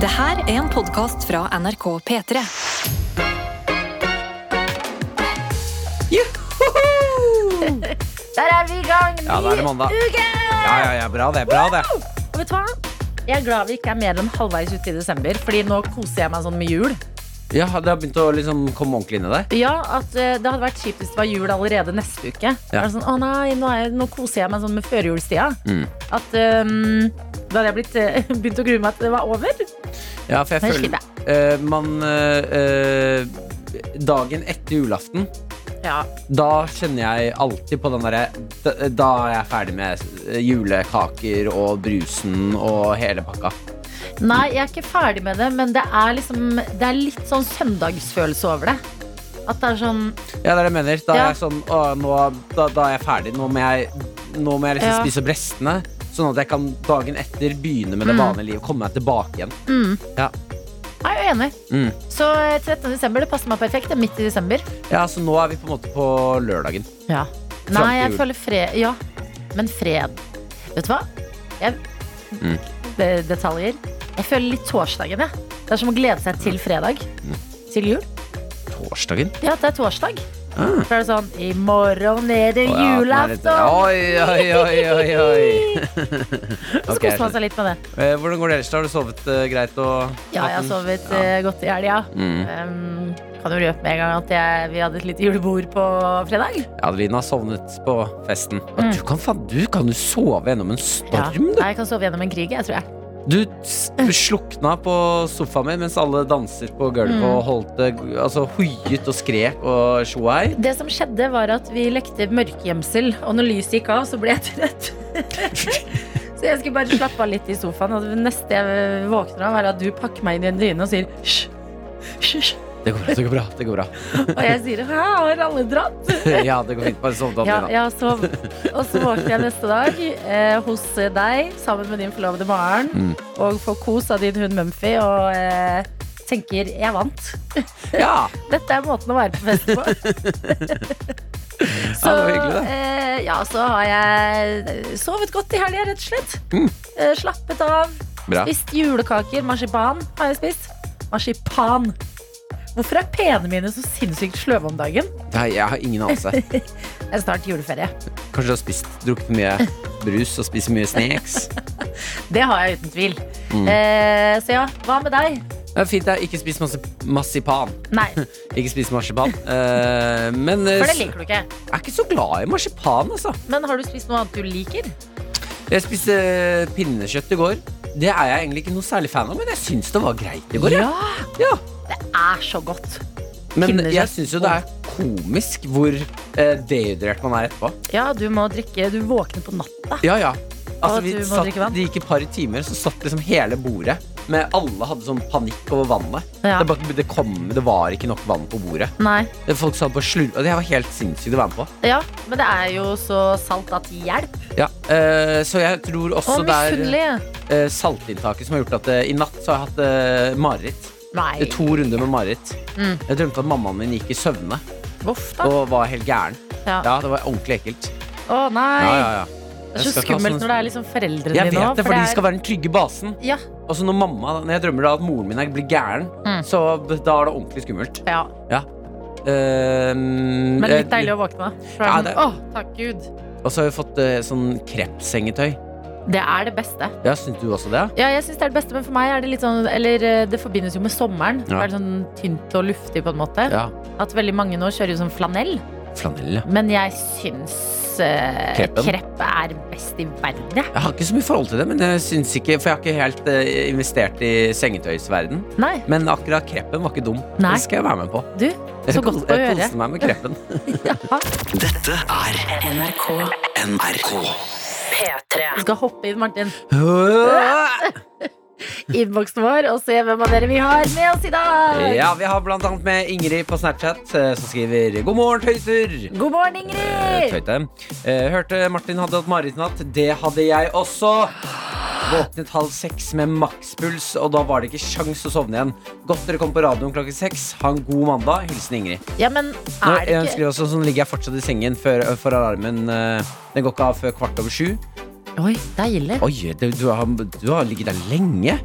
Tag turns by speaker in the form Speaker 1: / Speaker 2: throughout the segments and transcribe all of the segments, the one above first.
Speaker 1: Det her er en podkast fra NRK P3.
Speaker 2: Der er vi i gang!
Speaker 3: Ja, da er det mandag.
Speaker 2: Uke!
Speaker 3: Ja, ja, ja, bra det, bra det.
Speaker 2: Og vet du hva? Jeg er glad vi ikke er mer enn halvveis ute i desember, Fordi nå koser jeg meg sånn med jul.
Speaker 3: Ja, det har begynt å liksom komme ordentlig inn i deg.
Speaker 2: Ja, at eh, Det hadde vært kjipt hvis det var jul allerede neste uke. Da er det Sånn, å nei, nå, er jeg, nå koser jeg meg sånn med førjulstida.
Speaker 3: Mm.
Speaker 2: At ehm, Da hadde jeg blitt, eh, begynt å grue meg til det var over.
Speaker 3: Ja, for jeg
Speaker 2: Men
Speaker 3: føler
Speaker 2: slipper
Speaker 3: eh, man eh, eh, Dagen etter julaften,
Speaker 2: Ja,
Speaker 3: da kjenner jeg alltid på den derre da- Da er jeg ferdig med eh, julekaker og brusen og hele pakka.
Speaker 2: Nei, jeg er ikke ferdig med det, men det er, liksom, det er litt sånn søndagsfølelse over det. At det er sånn
Speaker 3: Ja, det er det jeg mener. Da er
Speaker 2: Ja.
Speaker 3: jeg sånn å, nå, da, da er jeg ferdig. Nå må jeg, nå må jeg liksom
Speaker 2: Ja.
Speaker 3: spise opp restene. Sånn at jeg kan dagen etter begynne med det
Speaker 2: Mm.
Speaker 3: vanlige livet. Komme meg tilbake igjen.
Speaker 2: mm.
Speaker 3: Ja.
Speaker 2: Nei, Jeg er enig.
Speaker 3: Mm.
Speaker 2: Så eh, 13. desember, det passer meg perfekt. Det er midt i desember.
Speaker 3: Ja, Så nå er vi på en måte på lørdagen.
Speaker 2: Ja.
Speaker 3: Fram
Speaker 2: Nei,
Speaker 3: til
Speaker 2: jeg
Speaker 3: jul.
Speaker 2: føler fred Ja, men fred Vet du hva? Jeg,
Speaker 3: Mm.
Speaker 2: de, detaljer Jeg føler litt torsdagen, jeg Det er som å glede seg til fredag
Speaker 3: Mm.
Speaker 2: Til jul
Speaker 3: Torsdagen?
Speaker 2: Ja, det er torsdag For er det sånn, i morgen er det
Speaker 3: Ah. Å, ja, den er litt-
Speaker 2: julafton
Speaker 3: Oi, oi, oi, oi, oi.
Speaker 2: Og så
Speaker 3: Ok, jeg
Speaker 2: koser man seg litt med det
Speaker 3: Eh, hvordan går det ellers? da? Har du sovet eh, greit? Og
Speaker 2: Ja, jeg har sovet eh, godt i helg, ja
Speaker 3: Mm.
Speaker 2: um, Kan jo røpe med en gang at jeg, vi hadde et litt julebord på fredag
Speaker 3: Adeline har sovnet på festen. Ja, Du, kan, faen, du kan jo sove gjennom en
Speaker 2: Mm. Ja.
Speaker 3: storm,
Speaker 2: Nei, Jeg kan sove gjennom en krig, jeg tror jeg
Speaker 3: du. Du s- slukna på sofaen min mens alle danset på gulvet
Speaker 2: Mm.
Speaker 3: og holdt det altså, hoiet og skrek og tjohei.
Speaker 2: Det som skjedde var at vi lekte mørkegjemsel, og når lyset gikk av, så ble jeg trøtt. så jeg skulle bare slappe av litt i sofaen, og det neste jeg våkner av, er at du pakker meg inn i en dyne og sier hysj. hysj,
Speaker 3: Det går bra, det går bra. det går bra
Speaker 2: Og jeg sier hæ, har alle dratt?
Speaker 3: Ja, det går fint. Bare sov,
Speaker 2: Ja,
Speaker 3: Adelina.
Speaker 2: ja, så, og så våkner jeg neste dag eh, hos deg sammen med din forlovede Maren,
Speaker 3: Mm.
Speaker 2: og får kos av din hund Mumphy, og eh, tenker jeg vant.
Speaker 3: Ja.
Speaker 2: Dette er måten å være på fest på.
Speaker 3: Ja,
Speaker 2: så,
Speaker 3: det var hyggelig, det.
Speaker 2: eh, ja, så har jeg sovet godt i helga, rett og slett.
Speaker 3: Mm.
Speaker 2: Eh, slappet av.
Speaker 3: Bra.
Speaker 2: Spist julekaker. Marsipan har jeg spist. Marsipan. Hvorfor er pene mine så sinnssykt sløve om dagen?
Speaker 3: Nei, jeg har ingen anelse.
Speaker 2: Det er snart juleferie.
Speaker 3: Kanskje du har spist, drukket mye brus og spist mye snacks.
Speaker 2: Det har jeg uten tvil.
Speaker 3: Mm.
Speaker 2: Eh, så ja, hva med deg?
Speaker 3: Det er fint, det. Ikke spis masse marsipan.
Speaker 2: Nei,
Speaker 3: Ikke spis marsipan. Eh, men eh,
Speaker 2: for det liker du ikke.
Speaker 3: jeg er ikke så glad i marsipan, altså.
Speaker 2: Men har du spist noe annet du liker?
Speaker 3: Jeg spiste eh, pinnekjøtt i går. Det er jeg egentlig ikke noe særlig fan av, men jeg syns det var greit i går. jeg. Ja.
Speaker 2: Det er så godt.
Speaker 3: Men
Speaker 2: pinnekjøtt.
Speaker 3: jeg syns jo det er komisk hvor eh, dehydrert man er etterpå.
Speaker 2: Ja, du må drikke. Du våkner på natta.
Speaker 3: Ja, ja. Altså,
Speaker 2: Å,
Speaker 3: vi
Speaker 2: Ah. du må
Speaker 3: satt,
Speaker 2: drikke vann.
Speaker 3: det gikk et par timer, så satt liksom hele bordet. Men alle hadde sånn panikk over vannet.
Speaker 2: Ja.
Speaker 3: Det, bare, det, kom, det var ikke nok vann på bordet.
Speaker 2: Nei.
Speaker 3: Det Folk sa på slurv... Og det var helt sinnssykt å være med på.
Speaker 2: Ja, men det er jo så salt at hjelp.
Speaker 3: Ja, eh, så jeg tror
Speaker 2: Og
Speaker 3: også det er
Speaker 2: misunnelig.
Speaker 3: eh, saltinntaket som har gjort at eh, i natt så har jeg hatt eh, mareritt.
Speaker 2: Nei.
Speaker 3: Det er To runder med mareritt.
Speaker 2: Mm.
Speaker 3: Jeg drømte at mammaen min gikk i søvne
Speaker 2: Voff, da. Å
Speaker 3: og var helt gæren.
Speaker 2: ja.
Speaker 3: Ja, Det var ordentlig ekkelt.
Speaker 2: nei.
Speaker 3: Ja, ja, ja.
Speaker 2: Det
Speaker 3: Jeg
Speaker 2: er så
Speaker 3: skal ikke ha
Speaker 2: skummelt
Speaker 3: sånn-
Speaker 2: når det er liksom foreldrene
Speaker 3: Jeg
Speaker 2: dine
Speaker 3: vet
Speaker 2: òg.
Speaker 3: det, for de skal være den trygge basen.
Speaker 2: ja,
Speaker 3: Og så når mamma, når jeg drømmer da at moren min er- blir gæren,
Speaker 2: Mm.
Speaker 3: så b- da er det ordentlig skummelt.
Speaker 2: ja.
Speaker 3: Ja. Eh,
Speaker 2: Men
Speaker 3: eh,
Speaker 2: litt deilig å våkne. For
Speaker 3: Ja,
Speaker 2: ja,
Speaker 3: det-
Speaker 2: Å, takk Gud.
Speaker 3: Og så har vi fått eh, sånn krepsengetøy.
Speaker 2: Det er det beste.
Speaker 3: Ja, Syns du også det?
Speaker 2: Ja, jeg synes det er det beste, men for meg er det litt sånn Eller eh, det forbindes jo med sommeren.
Speaker 3: Ja.
Speaker 2: Det er sånn tynt og luftig, på en måte.
Speaker 3: Ja.
Speaker 2: At veldig mange nå kjører jo sånn flanell.
Speaker 3: Flanell, ja.
Speaker 2: Men jeg syns eh,
Speaker 3: Krepen.
Speaker 2: krepp er best i verden, jeg.
Speaker 3: Jeg har ikke så mye forhold til det, men jeg syns ikke For jeg har ikke helt eh, investert i sengetøysverden.
Speaker 2: Nei.
Speaker 3: Men akkurat kreppen var ikke dum.
Speaker 2: Nei.
Speaker 3: Det skal jeg være med på.
Speaker 2: Du, så
Speaker 3: Jeg
Speaker 2: godt
Speaker 3: kos-
Speaker 2: å
Speaker 3: Jeg
Speaker 2: høre.
Speaker 3: koste meg med kreppen.
Speaker 2: Ja.
Speaker 4: Dette er
Speaker 1: NRK
Speaker 4: NRK.
Speaker 1: P3.
Speaker 2: Du skal hoppe inn, Martin.
Speaker 3: Øh!
Speaker 2: innboksen vår og se hvem av dere vi har med oss i dag.
Speaker 3: Ja, vi har blant annet med Ingrid på Snapchat, eh, som skriver 'God morgen, tøyser'.
Speaker 2: God
Speaker 3: Eh,
Speaker 2: morgen, Ingrid!
Speaker 3: Tøyte. Eh, Hørte Martin hadde hatt mareritt i natt. Det hadde jeg også. Våknet halv seks med makspuls, og da var det ikke sjans å sovne igjen. Godt dere kom på radioen klokken seks. Ha en god mandag. Hilsen Ingrid.
Speaker 2: Ja, men
Speaker 3: Nå,
Speaker 2: er det
Speaker 3: jeg
Speaker 2: ikke
Speaker 3: skriver også Sånn ligger jeg fortsatt i sengen før, for alarmen. eh, Den går ikke av før kvart over sju.
Speaker 2: Oi, deilig.
Speaker 3: Oi, det, du, har, du har ligget der lenge.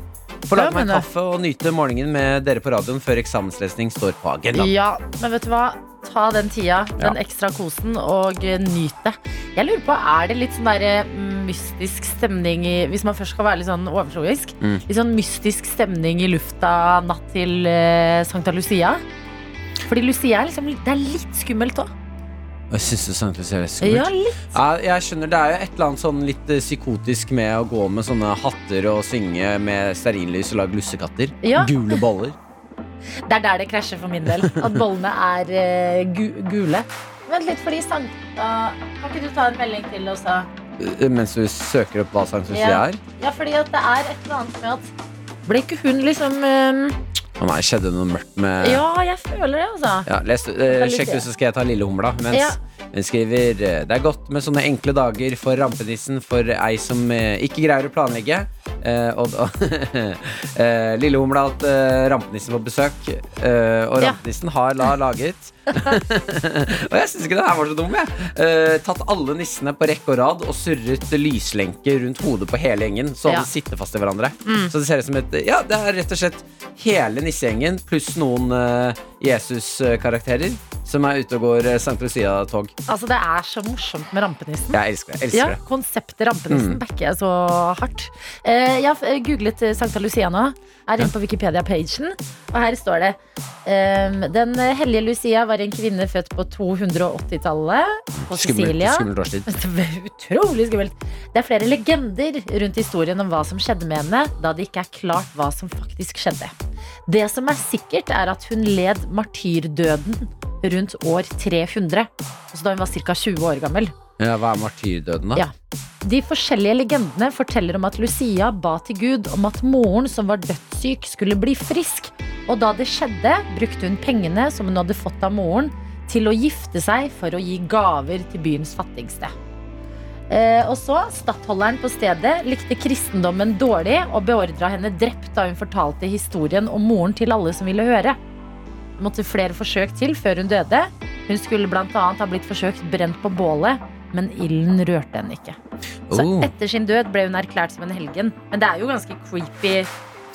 Speaker 3: Få lage
Speaker 2: Ja, men
Speaker 3: meg
Speaker 2: det-
Speaker 3: kaffe og nyte morgenen med dere på radioen før eksamenslesning står på agendaen.
Speaker 2: Ja, men vet du hva? Ta den tida, den
Speaker 3: Ja.
Speaker 2: ekstra kosen, og eh, nyt det. Jeg lurer på, Er det litt sånn der, eh, mystisk stemning i Hvis man først skal være litt sånn overtroisk.
Speaker 3: Mm.
Speaker 2: Litt sånn mystisk stemning i lufta natt til eh, Sankta Lucia. Fordi Lucia er liksom Det er litt skummelt òg.
Speaker 3: Jeg synes det er sånn sant, Lucia, det er skummelt.
Speaker 2: Ja, litt.
Speaker 3: Ja, jeg skjønner, Det er jo et eller annet sånn litt eh, psykotisk med å gå med sånne hatter og synge med stearinlys og lage lussekatter.
Speaker 2: Ja.
Speaker 3: Gule boller.
Speaker 2: Det er der det krasjer for min del. At bollene er eh, gu gule. Vent litt, fordi Sankta Kan ikke du ta en melding til oss, da?
Speaker 3: Eh, Mens du søker opp hva Sankt Lucia
Speaker 2: Ja.
Speaker 3: er.
Speaker 2: Ja, fordi at det er et eller annet med at Ble ikke hun liksom eh,
Speaker 3: Å nei, skjedde det noe mørkt med
Speaker 2: Ja, jeg føler det, altså.
Speaker 3: Ja, les, eh,
Speaker 2: Lucia.
Speaker 3: sjekk du, så skal jeg ta Lille Humla. Mens
Speaker 2: Ja.
Speaker 3: hun skriver eh, Det er godt med sånne enkle dager for rampenissen for ei som eh, ikke greier å planlegge. Eh, og da eh, Lille Humla har hatt eh, rampenissen på besøk, eh, og
Speaker 2: Ja.
Speaker 3: rampenissen har la laget Og jeg syns ikke det her var så dum, jeg. Eh, tatt alle nissene på rekke og rad og surret lyslenker rundt hodet på hele gjengen, så
Speaker 2: Ja. Mm.
Speaker 3: alle sitter fast i hverandre. Så det ser ut som et Ja, det er rett og slett hele nissegjengen pluss noen eh, Jesus-karakterer som er ute og går uh, Sankt Lucia-tog.
Speaker 2: Altså, Det er så morsomt med rampenissen.
Speaker 3: Jeg elsker det. jeg elsker
Speaker 2: Ja,
Speaker 3: det
Speaker 2: Konseptet rampenissen
Speaker 3: Mm.
Speaker 2: backer jeg så hardt. Eh, jeg har eh, googlet eh, Sankta Lucia nå. Er inne på Wikipedia-pagen, og her står det ehm, Den hellige Lucia var en kvinne født på 280-tallet på
Speaker 3: Skummelt,
Speaker 2: Sicilia.
Speaker 3: skummelt årstid.
Speaker 2: Det var Utrolig skummelt. Det er flere legender rundt historien om hva som skjedde med henne, da det ikke er klart hva som faktisk skjedde. Det som er sikkert, er at hun led martyrdøden rundt år 300, altså da hun var ca. 20 år gammel.
Speaker 3: Ja, hva er martyrdøden, da?
Speaker 2: Ja. De forskjellige legendene forteller om at Lucia ba til Gud om at moren som var dødssyk, skulle bli frisk. Og da det skjedde, brukte hun pengene som hun hadde fått av moren, til å gifte seg for å gi gaver til byens fattigste. Eh, og så, Stattholderen på stedet likte kristendommen dårlig og beordra henne drept da hun fortalte historien om moren til alle som ville høre. Det måtte flere forsøk til før hun døde. Hun skulle bl.a. ha blitt forsøkt brent på bålet, men ilden rørte henne ikke. Så
Speaker 3: Oh.
Speaker 2: etter sin død ble hun erklært som en helgen. Men det er jo ganske creepy.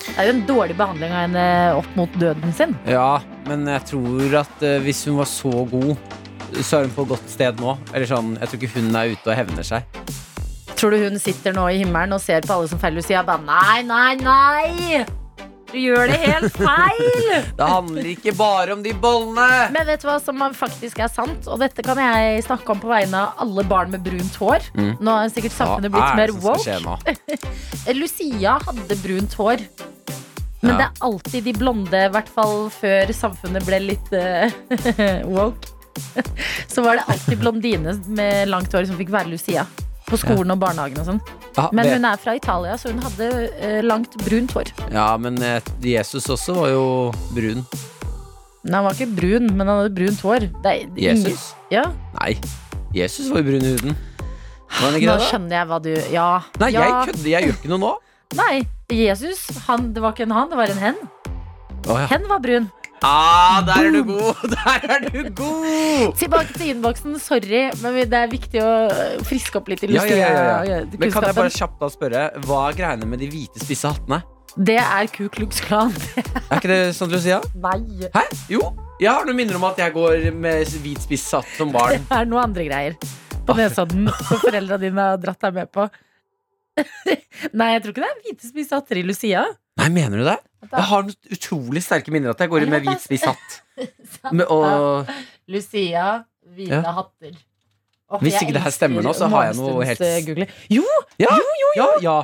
Speaker 2: Det er jo en dårlig behandling av henne opp mot døden sin.
Speaker 3: Ja, men jeg tror at eh, hvis hun var så god, så er hun på godt sted nå. Eller sånn, Jeg tror ikke hun er ute og hevner seg.
Speaker 2: Tror du hun sitter nå i himmelen og ser på alle som feiler Lucia og bare nei, nei, nei! Du gjør det helt feil!
Speaker 3: Det handler ikke bare om de bollene!
Speaker 2: Men vet du hva som faktisk er sant? Og dette kan jeg snakke om på vegne av alle barn med brunt hår.
Speaker 3: Mm.
Speaker 2: Nå har sikkert samfunnet blitt mer woke.
Speaker 3: nå?
Speaker 2: Lucia hadde brunt hår. Men
Speaker 3: Ja.
Speaker 2: det er alltid de blonde, i hvert fall før samfunnet ble litt eh, woke. Så var det alltid blondine med langt hår som fikk være Lucia. På skolen og barnehagen og sånn.
Speaker 3: Ja,
Speaker 2: Men
Speaker 3: det-
Speaker 2: hun er fra Italia, så hun hadde eh, langt brunt hår.
Speaker 3: Ja, men eh, Jesus også var jo brun.
Speaker 2: Nei, han var ikke brun, men han hadde brunt hår. Det er ingen-
Speaker 3: Jesus?
Speaker 2: Ja.
Speaker 3: Nei, Jesus var jo brun i huden. Var han ikke
Speaker 2: Nå
Speaker 3: det? da?
Speaker 2: skjønner jeg hva du Ja.
Speaker 3: Nei,
Speaker 2: ja.
Speaker 3: jeg kødder. Jeg gjør ikke noe nå.
Speaker 2: Nei, Jesus, han, det var ikke en han, det var en hen.
Speaker 3: Å, ja.
Speaker 2: Hen var brun.
Speaker 3: ah, der er du god! Der er du god!
Speaker 2: Tilbake til innboksen. Sorry, men vi- det er viktig å øh, friske opp litt i
Speaker 3: Ja, ja, ja, ja, ja.
Speaker 2: Lucia-
Speaker 3: Men kan jeg
Speaker 2: kunnskapen.
Speaker 3: bare kjapt da spørre, hva er greiene med de hvite, spisse hattene?
Speaker 2: Det er Ku Klux Klan.
Speaker 3: Er ikke det sant, Lucia?
Speaker 2: Nei.
Speaker 3: Hæ? Jo, jeg har noen minner om at jeg går med hvit spiss hatt som barn.
Speaker 2: Det er noe andre greier
Speaker 3: Ah.
Speaker 2: på Nesodden som foreldra dine har dratt deg med på. Nei, jeg tror ikke det er hvite spisse hatter i Lucia.
Speaker 3: Nei, mener du det?
Speaker 2: At det er-
Speaker 3: Jeg har noen utrolig sterke minner at jeg går med hvit spiss hatt. Med, og
Speaker 2: Lucia, hvite
Speaker 3: Ja.
Speaker 2: hatter. Åh,
Speaker 3: Hvis
Speaker 2: jeg
Speaker 3: ikke det her
Speaker 2: elsker
Speaker 3: stemmer nå, så har jeg noe helt-
Speaker 2: morgenstundens, øh, Google. Jo,
Speaker 3: ja, ja, ja.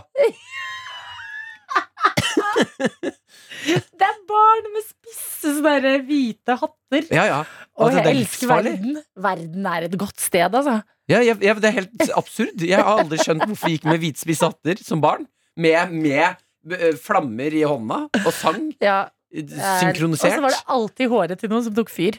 Speaker 2: det er barn med spisse sånne der eh, hvite hatter.
Speaker 3: ja, ja.
Speaker 2: Og
Speaker 3: At det
Speaker 2: jeg
Speaker 3: er
Speaker 2: elsker
Speaker 3: livsfarlig.
Speaker 2: verden. Verden er et godt sted, altså.
Speaker 3: Ja, jeg, jeg, det er helt absurd. Jeg har aldri skjønt hvorfor jeg gikk med hvitspisse hatter som barn. Med, med eh, flammer i hånda og sang
Speaker 2: Ja,
Speaker 3: eh,
Speaker 2: er- Og
Speaker 3: synkronisert.
Speaker 2: så var det alltid håret til noen som tok fyr.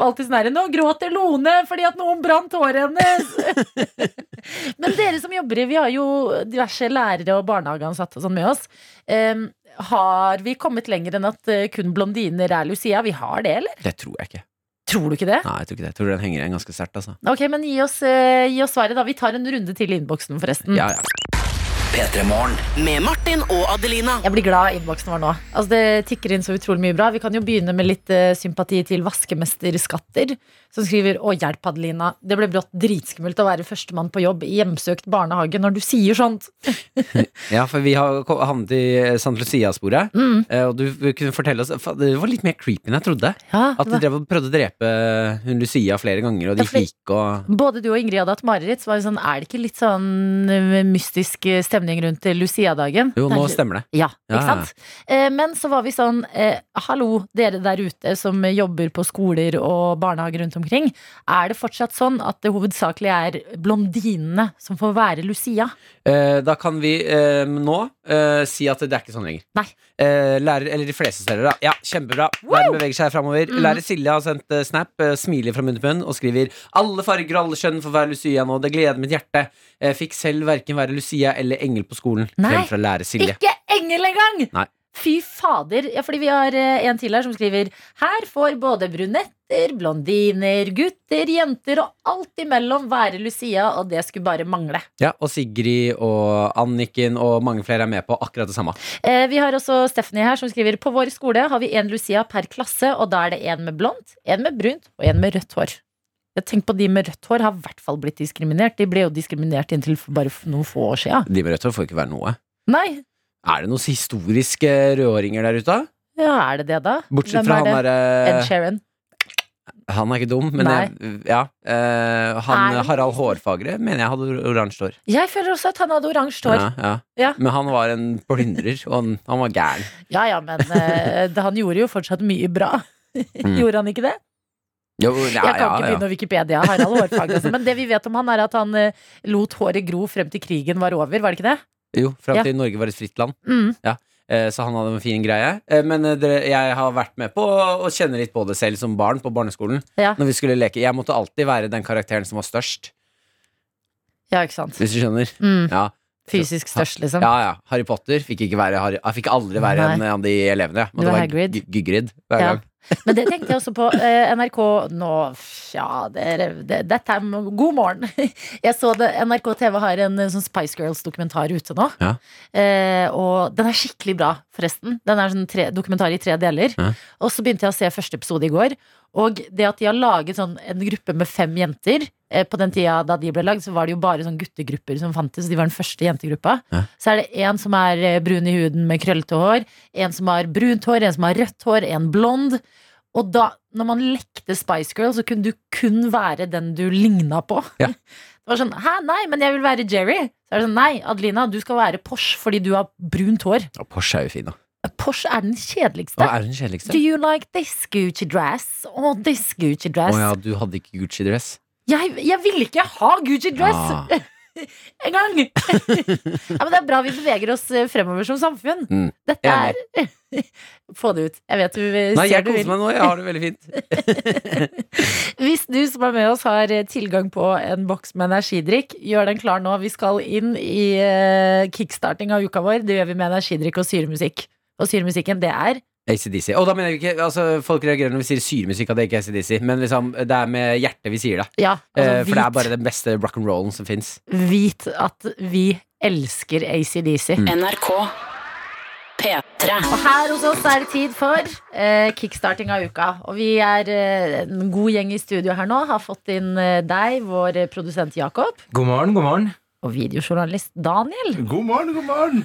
Speaker 2: Og Alltid sånn her, Nå gråter Lone fordi at noen brant håret hennes! Men dere som jobber i Vi har jo diverse lærere og barnehageansatte og sånn med oss. Em, har vi kommet lenger enn at eh, kun blondiner er Lucia? Vi har det, eller?
Speaker 3: Det tror jeg ikke.
Speaker 2: Tror du ikke det?
Speaker 3: Nei, jeg tror ikke det. Jeg tror den henger igjen ganske sterkt, altså.
Speaker 2: Ok, men gi oss, eh, gi oss svaret, da. Vi tar en runde til i innboksen, forresten.
Speaker 3: Ja, ja.
Speaker 4: P3-morgen.
Speaker 5: Med Martin og Adelina.
Speaker 2: Jeg blir glad innboksen vår nå. Altså, det tikker inn så utrolig mye bra. Vi kan jo begynne med litt eh, sympati til vaskemester Skatter, som skriver Å, hjelp, Adelina. Det ble brått dritskummelt å være førstemann på jobb i hjemsøkt barnehage når du sier sånt.
Speaker 3: Ja, for vi har ko- havnet i eh, St. Lucia-sporet.
Speaker 2: Mm.
Speaker 3: eh, Og du kunne fortelle oss fa- Det var litt mer creepy enn jeg trodde.
Speaker 2: Ja,
Speaker 3: At de drev og prøvde å drepe eh, hun Lucia flere ganger, og de
Speaker 2: Ja, fordi-
Speaker 3: gikk og
Speaker 2: Både du og Ingrid hadde hatt mareritt, så var det sånn Er det ikke litt sånn eh, mystisk eh, stemning rundt eh, Lucia-dagen?
Speaker 3: Jo,
Speaker 2: Det er
Speaker 3: nå
Speaker 2: litt-
Speaker 3: stemmer det.
Speaker 2: Ja,
Speaker 3: Ja,
Speaker 2: ikke sant? Eh, Men så var vi sånn eh, Hallo, dere der ute som jobber på skoler og barnehager rundt omkring. Er det fortsatt sånn at det hovedsakelig er blondinene som får være Lucia?
Speaker 3: Eh, da kan vi eh, nå eh, si at det er ikke sånn lenger.
Speaker 2: Nei.
Speaker 3: Eh, lærer, eller de fleste steder, da. Ja, kjempebra. Verden beveger seg framover.
Speaker 2: Mm.
Speaker 3: Lærer Silje har sendt eh, snap, eh, smiler fra munn til munn, og skriver alle farger og alle kjønn får være Lucia nå. Det gleder mitt hjerte. Eh, fikk selv verken være Lucia eller engel på skolen.
Speaker 2: Nei.
Speaker 3: Frem fra lærer Silje.
Speaker 2: Ikke engel engang!
Speaker 3: Nei.
Speaker 2: Fy fader. Ja, fordi vi har eh, en til her som skriver Her får både brunetter, blondiner, gutter, jenter og alt imellom være Lucia, og det skulle bare mangle.
Speaker 3: Ja, og Sigrid og Anniken og mange flere er med på akkurat det samme.
Speaker 2: Eh, Vi har også Stephanie her som skriver På vår skole har vi en Lucia per klasse Og da er det en med blondt, en med brunt og en med rødt hår Jeg tenker på de med rødt hår har i hvert fall blitt diskriminert De ble jo diskriminert inntil for bare f- noen få år siden
Speaker 3: De med rødt hår får ikke være noe.
Speaker 2: Nei,
Speaker 3: Er det noen historiske rødhåringer der ute?
Speaker 2: ja er det det da?
Speaker 3: Bortsett
Speaker 2: Hvem
Speaker 3: fra
Speaker 2: er
Speaker 3: han eh,
Speaker 2: det?
Speaker 3: derre
Speaker 2: Ed Sheeran
Speaker 3: Han er ikke dum, men
Speaker 2: Nei.
Speaker 3: jeg, ja. eh, han,
Speaker 2: Er han?
Speaker 3: Harald Hårfagre mener jeg hadde or- oransje hår.
Speaker 2: Jeg føler også at han hadde oransje hår
Speaker 3: Ja, ja.
Speaker 2: Ja.
Speaker 3: Men han var en plyndrer, og han, han var gæren.
Speaker 2: Ja, ja, men eh, det- han gjorde jo fortsatt mye bra Gjorde han ikke det?
Speaker 3: Jo, Mm. ja,
Speaker 2: Jeg kan ikke
Speaker 3: ja, ja.
Speaker 2: begynne å Wikipedia Harald Hårfagre altså. Men det vi vet om han er at han eh, lot håret gro frem til krigen var over Var det ikke det?
Speaker 3: Jo, fram
Speaker 2: Ja.
Speaker 3: til Norge var et fritt land.
Speaker 2: Mm.
Speaker 3: Eh, Så han hadde en fin greie. Eh, Men eh, dere, jeg har vært med på å kjenne litt på det selv som barn på barneskolen.
Speaker 2: Ja.
Speaker 3: Når vi skulle leke Jeg måtte alltid være den karakteren som var størst,
Speaker 2: Ja, ikke sant?
Speaker 3: hvis du skjønner.
Speaker 2: Mm.
Speaker 3: Ja,
Speaker 2: Fysisk størst, liksom.
Speaker 3: ja, ja. Harry Potter fikk, ikke være Harry, jeg fikk aldri være
Speaker 2: Nei.
Speaker 3: en av de elevene. Jeg
Speaker 2: Du
Speaker 3: Måtte
Speaker 2: var
Speaker 3: være
Speaker 2: Hagrid.
Speaker 3: Gy- Gygrid hver
Speaker 2: Ja.
Speaker 3: gang.
Speaker 2: Men det tenkte jeg også på. eh, NRK nå Ja, dere- det- dette er God morgen. Jeg så det, NRK TV har en eh, sånn Spice Girls-dokumentar ute nå.
Speaker 3: Ja.
Speaker 2: Eh, og den er skikkelig bra, forresten. Den er sånn tre, dokumentar i tre deler.
Speaker 3: Ja.
Speaker 2: Og så begynte jeg å se første episode i går. Og det at de har laget sånn en gruppe med fem jenter eh, På den tida da de ble lagd, så var det jo bare sånn guttegrupper som fantes. De var den første jentegruppa.
Speaker 3: Ja.
Speaker 2: Så er det en som er eh, brun i huden med krøllete hår. En som har brunt hår, en som har rødt hår, en blond. Og da, når man lekte Spice Girl, så kunne du kun være den du ligna på.
Speaker 3: Ja.
Speaker 2: Det var sånn Hæ, nei, men jeg vil være Jerry. Så er det sånn Nei, Adelina, du skal være Porsche fordi du har brunt hår.
Speaker 3: Ja, Porsche er jo fin, da.
Speaker 2: Porsche er den
Speaker 3: Hva
Speaker 2: kjedeligste.
Speaker 3: er den kjedeligste?
Speaker 2: Do you like this Gucci dress? Oh, this Gucci
Speaker 3: Å
Speaker 2: dress.
Speaker 3: ja, du hadde ikke Gucci-dress?
Speaker 2: jeg, jeg ville ikke ha Gucci dress
Speaker 3: Ja.
Speaker 2: en gang! ja, men det er bra vi beveger oss eh, fremover som samfunn.
Speaker 3: Mm.
Speaker 2: Dette er Få det ut. Jeg vet du eh,
Speaker 3: Nei,
Speaker 2: ser
Speaker 3: jeg
Speaker 2: du vil.
Speaker 3: koser meg nå. Jeg har det veldig fint.
Speaker 2: Hvis du som er med oss har eh, tilgang på en boks med energidrikk, gjør den klar nå. Vi skal inn i eh, kickstarting av uka vår. Det gjør vi med energidrikk og syremusikk. Og syremusikken, det er
Speaker 3: ACDC. Og da mener jeg ikke altså, Folk reagerer når vi sier syremusikk, at det ikke er ACDC, men liksom, det er med hjertet vi sier det.
Speaker 2: Ja,
Speaker 3: Eh,
Speaker 2: altså
Speaker 3: for det er
Speaker 2: vit,
Speaker 3: bare den beste rock'n'rollen som fins.
Speaker 2: vit at vi elsker ACDC.
Speaker 3: Mm.
Speaker 5: NRK P3.
Speaker 2: Og her hos oss er det tid for eh, kickstarting av uka. Og vi er eh, en god gjeng i studio her nå. Har fått inn eh, deg, vår eh, produsent Jakob,
Speaker 6: God morgen, god morgen.
Speaker 2: og videojournalist Daniel.
Speaker 6: God morgen, god morgen.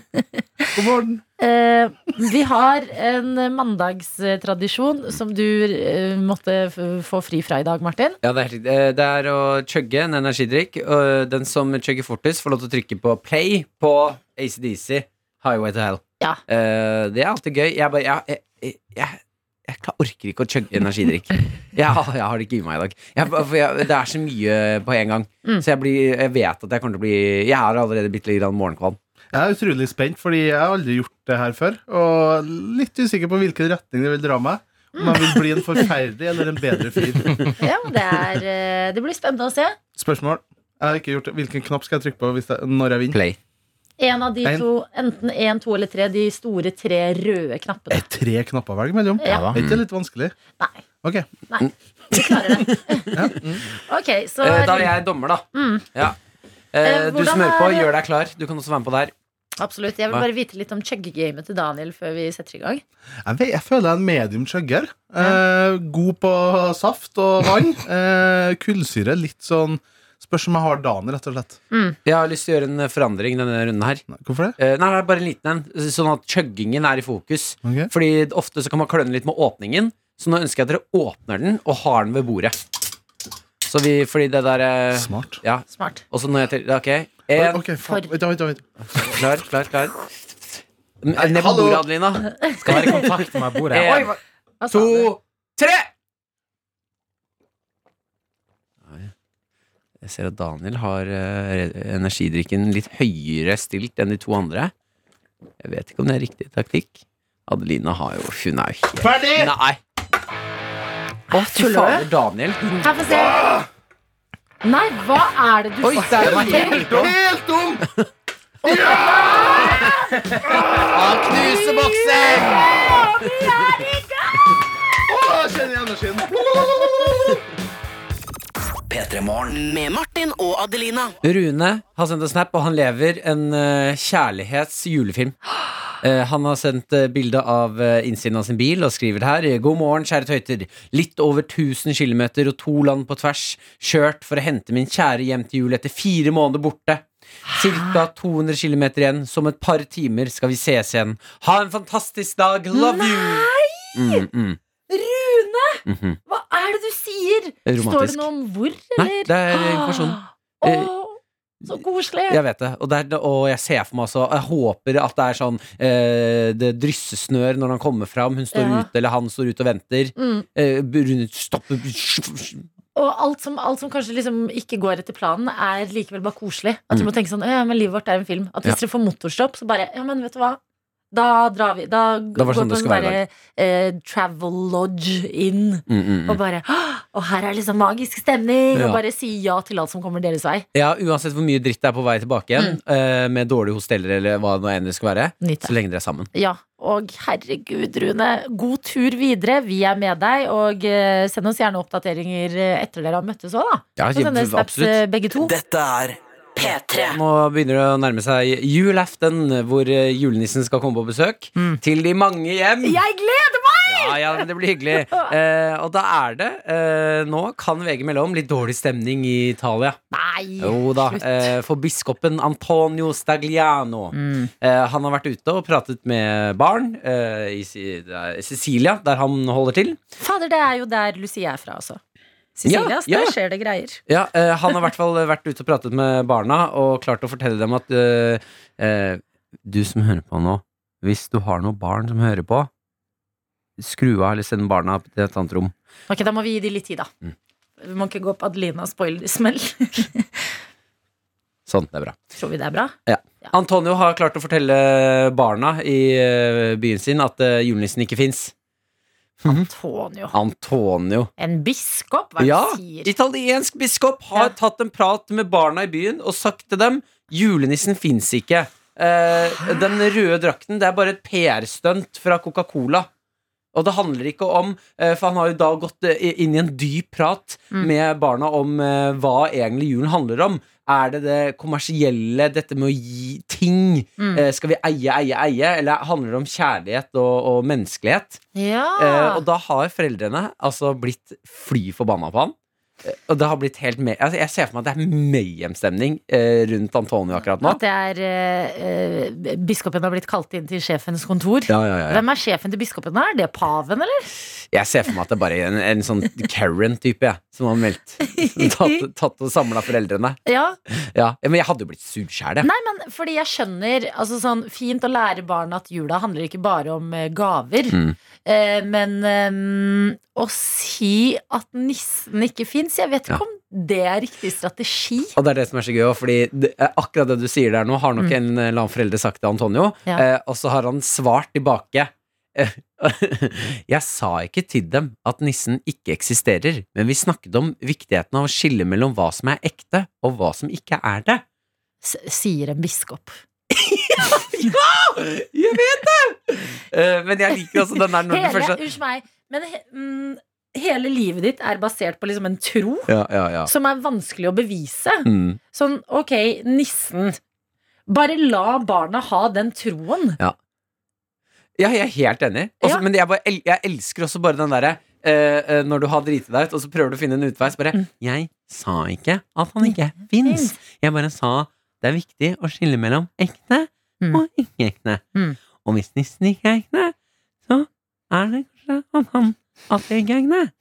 Speaker 6: God morgen.
Speaker 2: Eh, vi har en mandagstradisjon som du eh, måtte f få fri fra i dag, Martin.
Speaker 3: Ja, det er helt riktig. Eh, Det er å chugge en energidrikk. Og den som chugger fortest, får lov til å trykke på play på ACDC Highway to Hell.
Speaker 2: Ja.
Speaker 3: Eh, det er alltid gøy. Jeg bare Jeg, jeg, jeg, jeg klar- orker ikke å chugge energidrikk. jeg, har- jeg har det ikke i meg i dag. Jeg, bare- for jeg, det er så mye på en gang.
Speaker 2: Mm.
Speaker 3: Så jeg, blir, jeg vet at jeg kommer til å bli Jeg har allerede bitte litt grann morgenkvalm.
Speaker 7: Jeg er utrolig spent, fordi jeg har aldri gjort det her før. Og litt usikker på hvilken retning det vil dra meg. Om jeg vil bli en forferdelig eller en bedre fyr.
Speaker 2: Ja, det, er, eh, det blir spennende å se.
Speaker 7: Spørsmål. Jeg har ikke gjort det. Hvilken knapp skal jeg trykke på hvis jeg, når jeg vinner?
Speaker 3: Play.
Speaker 2: En av de
Speaker 7: En.
Speaker 2: to, enten én, to eller tre, de store tre røde knappene.
Speaker 7: Er det tre knapper å velge mellom?
Speaker 2: Ja.
Speaker 7: Er ikke det litt vanskelig?
Speaker 2: Nei.
Speaker 7: Ok.
Speaker 2: Vi klarer det. Ok, så
Speaker 3: Eh, da er jeg dommer, da. Ja. Eh,
Speaker 2: Eh,
Speaker 3: du
Speaker 2: hvordan
Speaker 3: som hører på,
Speaker 2: er-
Speaker 3: gjør deg klar. Du kan også være med på der.
Speaker 2: Absolutt. Jeg vil
Speaker 3: Nei.
Speaker 2: bare vite litt om chuggegamet til Daniel før vi setter i gang.
Speaker 7: Jeg, vet, jeg føler jeg er en medium chugger. Eh, god på saft og vann. Eh, kullsyre litt sånn Spørs om jeg har dagen, rett og slett.
Speaker 3: Jeg har lyst til å gjøre en forandring denne runden her.
Speaker 7: Nei, Hvorfor det?
Speaker 3: Eh, Nei, nei, bare en liten en. Sånn at chuggingen er i fokus.
Speaker 7: Ok.
Speaker 3: Fordi ofte så kan man kløne litt med åpningen. Så nå ønsker jeg at dere åpner den og har den ved bordet. Så vi, fordi det der eh,
Speaker 7: Smart.
Speaker 3: Ja.
Speaker 2: Smart.
Speaker 3: Og så når jeg teller Ok, én,
Speaker 7: Ok, faen. Vent, da, vent, da, vent.
Speaker 3: klar, klar, klar. Ned på
Speaker 7: hallo.
Speaker 3: bordet, Adelina.
Speaker 6: Skal være i kontakt med bordet.
Speaker 3: Én,
Speaker 2: Hva sa du?
Speaker 3: to, tre! Jeg ser at Daniel har eh, energidrikken litt høyere stilt enn de to andre. Jeg vet ikke om det er riktig taktikk. Adelina har jo Hun er jo helt
Speaker 7: Ferdig!
Speaker 3: Nei! Å, fy
Speaker 2: Tuller
Speaker 3: fader, Daniel.
Speaker 2: Her, få se. Nei, hva er det du
Speaker 3: Oi, der var helt om!
Speaker 7: Helt om!
Speaker 3: Han knuser boksen!
Speaker 7: Å, jeg kjenner energien.
Speaker 4: P3 Morgen.
Speaker 5: Med Martin og Adelina.
Speaker 3: Rune har sendt en snap, og han lever en eh, kjærlighets julefilm. Eh, han har sendt uh, bilde av eh, innsiden av sin bil og skriver her eh, God morgen, kjære tøyter. Litt over 1000 km og to land på tvers. Kjørt for å hente min kjære hjem til jul etter fire måneder borte. Cirka 200 km igjen. Som et par timer skal vi ses igjen. Ha en fantastisk dag. Love you! Mm, mm,
Speaker 2: Rune,
Speaker 3: mhm.
Speaker 2: hva er det du sier? Står
Speaker 3: Romantisk.
Speaker 2: det noe om hvor, eller?
Speaker 3: Nei, det er informasjon. Eh,
Speaker 2: Ah, Åh, så koselig.
Speaker 3: Jeg vet det, og, det er, og jeg ser for meg også Jeg håper at det er sånn eh, Det dryssesnør når han kommer fram Hun står
Speaker 2: Ja.
Speaker 3: ute, eller han står ute og venter
Speaker 2: Mm.
Speaker 3: eh, rundt- Stopper Ja,
Speaker 2: Og alt som, alt som kanskje liksom ikke går etter planen, er likevel bare koselig. At du
Speaker 3: Mm.
Speaker 2: må tenke sånn, ja, men livet vårt er en film. At hvis dere får motorstopp, så bare Ja, men vet du hva? Da drar vi. Da, g-
Speaker 3: var det sånn det
Speaker 2: går på en
Speaker 3: skulle være i
Speaker 2: derre, eh, travel lodge inn.
Speaker 3: mm, mm,
Speaker 2: Og
Speaker 3: mm.
Speaker 2: bare «Åh, Og her er liksom magisk stemning!
Speaker 3: Ja.
Speaker 2: Og bare si ja til alt som kommer deres vei.
Speaker 3: ja, uansett hvor mye dritt det er på vei tilbake igjen eh, Med dårlige hosteller eller hva det nå enn det skal være
Speaker 2: Nyt
Speaker 3: Så
Speaker 2: det.
Speaker 3: lenge dere er sammen
Speaker 2: Ja. Og herregud, Rune. God tur videre. Vi er med deg. Og eh, send oss gjerne oppdateringer eh, etter dere har møttes òg, da.
Speaker 3: ja,
Speaker 2: Så sender snaps eh,
Speaker 3: absolutt.
Speaker 2: begge to.
Speaker 4: Dette er
Speaker 5: P3.
Speaker 3: Nå begynner det å nærme seg julaften Hvor eh, julenissen skal komme på besøk Til de mange hjem
Speaker 2: Jeg gleder meg!
Speaker 3: Ja, ja, men det blir hyggelig. Eh, og da er det eh, Nå kan VG melde om litt dårlig stemning i Italia.
Speaker 2: Nei!
Speaker 3: Jo da.
Speaker 2: slutt.
Speaker 3: Eh, for biskopen Antonio Stagliano.
Speaker 2: Mm.
Speaker 3: Eh, han har vært ute og pratet med barn eh, i Si- det er Sicilia, der han holder til.
Speaker 2: Fader, det er jo der Lucia er fra også. Sicilias,
Speaker 3: Ja, ja.
Speaker 2: der skjer det greier.
Speaker 3: Ja, eh, Han har i hvert fall vært ute og pratet med barna og klart å fortelle dem at eh, eh, Du som hører på nå, hvis du har noen barn som hører på, skru av eller send barna til et annet rom.
Speaker 2: Ok, Da må vi gi de litt tid, da.
Speaker 3: Mm.
Speaker 2: Vi må ikke gå på Adelina spoilersmell.
Speaker 3: Sånn, det er bra.
Speaker 2: Tror vi det er bra?
Speaker 3: Antonio har klart å fortelle barna i eh, byen sin at eh, julenissen ikke fins.
Speaker 2: Tonio.
Speaker 3: Antonio.
Speaker 2: En biskop, hva er det
Speaker 3: Ja,
Speaker 2: du sier?
Speaker 3: italiensk biskop har
Speaker 2: Ja.
Speaker 3: tatt en prat med barna i byen og sagt til dem julenissen fins ikke. Eh, den røde drakten det er bare et PR-stunt fra Coca-Cola. Og det handler ikke om eh, For han har jo da gått eh, inn i en dyp prat
Speaker 2: Mm.
Speaker 3: med barna om eh, hva egentlig julen handler om. Er det det kommersielle, dette med å gi ting?
Speaker 2: Mm.
Speaker 3: Eh, skal vi eie, eie, eie? Eller handler det om kjærlighet og, og menneskelighet?
Speaker 2: Ja.
Speaker 3: Eh, og da har foreldrene altså blitt fly forbanna på han. Eh, Og det har blitt helt me altså, Jeg ser for meg at det er mayhem-stemning eh, rundt Antonio akkurat nå.
Speaker 2: At det er eh, eh, Biskopen har blitt kalt inn til sjefens kontor.
Speaker 3: Ja, ja, ja, ja.
Speaker 2: Hvem er sjefen til biskopen? da? Er det paven, eller?
Speaker 3: Jeg ser for meg at det er bare er en, en sånn Karen-type jeg, som har meldt. Tatt, tatt og samla foreldrene.
Speaker 2: Ja,
Speaker 3: Ja. ja, Men jeg hadde jo blitt sur sjæl, jeg.
Speaker 2: Nei, men fordi jeg skjønner altså sånn, Fint å lære barna at jula handler ikke bare om eh, gaver
Speaker 3: Mm.
Speaker 2: eh, Men ehm, å si at nissen ikke finnes Jeg vet
Speaker 3: Ja.
Speaker 2: ikke om det er riktig strategi
Speaker 3: Og det er det som er så gøy også, Fordi det, eh, akkurat det du sier der nå, har nok
Speaker 2: Mm.
Speaker 3: en eh, eller annen forelder sagt til Antonio.
Speaker 2: Ja.
Speaker 3: Eh, og så har han svart tilbake. Eh, Jeg sa ikke til dem at nissen ikke eksisterer, men vi snakket om viktigheten av å skille mellom hva som er ekte, og hva som ikke er det.
Speaker 2: s- Sier en biskop
Speaker 3: Jeg vet det! Eh, Men jeg liker altså den der når
Speaker 2: Hele,
Speaker 3: du først
Speaker 2: unnskyld meg Men he, mm, hele livet ditt er basert på liksom en tro
Speaker 3: Ja, ja, ja.
Speaker 2: Som er vanskelig å bevise
Speaker 3: Mm.
Speaker 2: Sånn, ok, nissen Bare la barna ha den troen.
Speaker 3: Ja, jeg er helt enig. Også,
Speaker 2: Ja.
Speaker 3: Men jeg, bare, el- jeg elsker også bare den derre eh, eh, når du har driti deg ut, og så prøver du å finne en utvei. Så bare
Speaker 2: Mm.
Speaker 3: Jeg sa ikke at han ikke fins. Jeg bare sa det er viktig å skille mellom ekte
Speaker 2: Mm.
Speaker 3: og ikke-ekte.
Speaker 2: Mm.
Speaker 3: Og hvis nissen ikke er ekte, så er det kanskje at han at det ikke er ekte.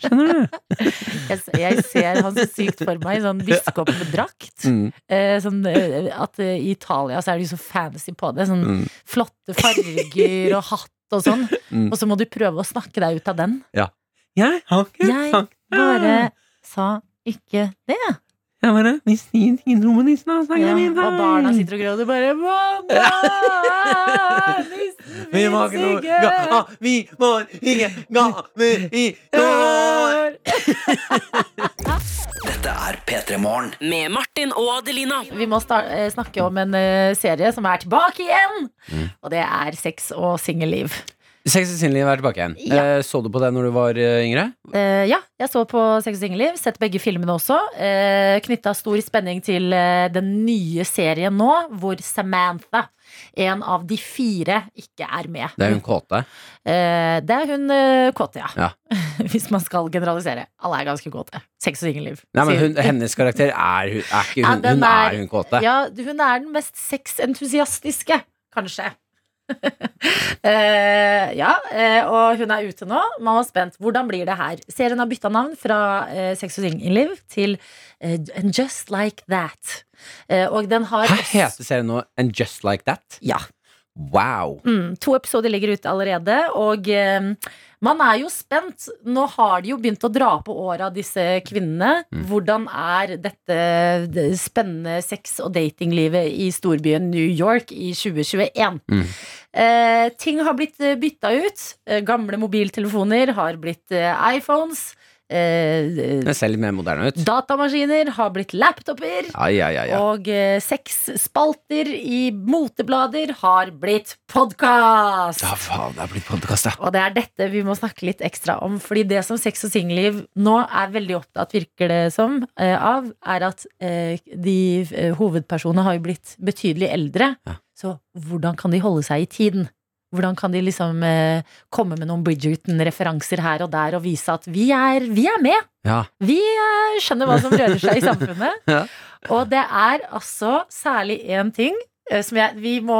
Speaker 3: Skjønner du?
Speaker 2: Jeg, s- jeg ser han så sykt for meg i sånn biskopdrakt.
Speaker 3: Mm,
Speaker 2: Eh, sånn, eh, at eh, I Italia så er de så fancy på det. Sånn
Speaker 3: mm,
Speaker 2: flotte farger og hatt og sånn.
Speaker 3: mm.
Speaker 2: Og så må du prøve å snakke deg ut av den.
Speaker 3: Jeg har ikke
Speaker 2: Jeg
Speaker 3: sagt det.
Speaker 2: Bare sa ikke det.
Speaker 3: Jeg bare Hvis de ikke tror på nissen, da snakker
Speaker 2: Ja,
Speaker 3: jeg
Speaker 2: og
Speaker 3: min
Speaker 2: barna sitter og gråter og bare Mamma! Nissen
Speaker 3: Vi må ikke noe ga, vi må ikke gaver i år.
Speaker 4: Dette er P3 Morgen.
Speaker 5: Med Martin og Adelina.
Speaker 2: Vi må sta- eh, snakke om en eh, serie som er tilbake igjen!
Speaker 3: Mm.
Speaker 2: Og det er sex og singelliv.
Speaker 3: Sex og singelliv er tilbake igjen.
Speaker 2: Ja.
Speaker 3: Eh, så du på det når du var eh, yngre?
Speaker 2: Eh, ja, jeg så på Sex og singelliv. Sett begge filmene også. Uh, Knytta stor spenning til eh, den nye serien nå, hvor Samantha, en av de fire, ikke er med.
Speaker 3: Det er hun kåte.
Speaker 2: Eh, det er hun eh, kåte, ja.
Speaker 3: Ja.
Speaker 2: Hvis man skal generalisere. Alle er ganske kåte. Sex og singelliv.
Speaker 3: Nei, men
Speaker 2: sier-
Speaker 3: hun, hennes karakter er, hun, er ikke
Speaker 2: Ja,
Speaker 3: hun.
Speaker 2: den
Speaker 3: hun
Speaker 2: er-
Speaker 3: er hun kåte.
Speaker 2: Ja, du- hun er den mest sexentusiastiske, kanskje. Eh, ja, eh, og hun er ute nå. Man var spent. Hvordan blir det her? Serien har bytta navn fra eh, Sex og singelliv til eh, And Just Like That. Eh, og den har
Speaker 3: Her heter serien nå And Just Like That.
Speaker 2: Ja.
Speaker 3: Wow.
Speaker 2: Mm, to episoder ligger ute allerede, og eh, man er jo spent. Nå har de jo begynt å dra på åra, disse kvinnene. Hvordan er dette det spennende sex- og datinglivet i storbyen New York i 2021?
Speaker 3: Mm.
Speaker 2: Eh, ting har blitt eh, bytta ut. Eh, gamle mobiltelefoner har blitt eh, iPhones. Eh,
Speaker 3: Den ser litt mer moderne ut.
Speaker 2: datamaskiner har blitt laptoper.
Speaker 3: Ja, ja, ja, ja.
Speaker 2: Og eh, seks spalter i moteblader har blitt podkast!
Speaker 3: Ja, faen, det er blitt podkast, ja.
Speaker 2: Og det er dette vi må snakke litt ekstra om. Fordi det som sex og singelliv nå er veldig opptatt, virker det som, eh, av, er at eh, de eh, hovedpersonene har jo blitt betydelig eldre.
Speaker 3: Ja.
Speaker 2: Så hvordan kan de holde seg i tiden? Hvordan kan de liksom eh, komme med noen Bridgerton-referanser her og der og vise at vi er, vi er med?
Speaker 3: ja.
Speaker 2: Vi eh, skjønner hva som rører seg i samfunnet.
Speaker 3: Ja.
Speaker 2: Og det er altså særlig én ting eh, som jeg Vi må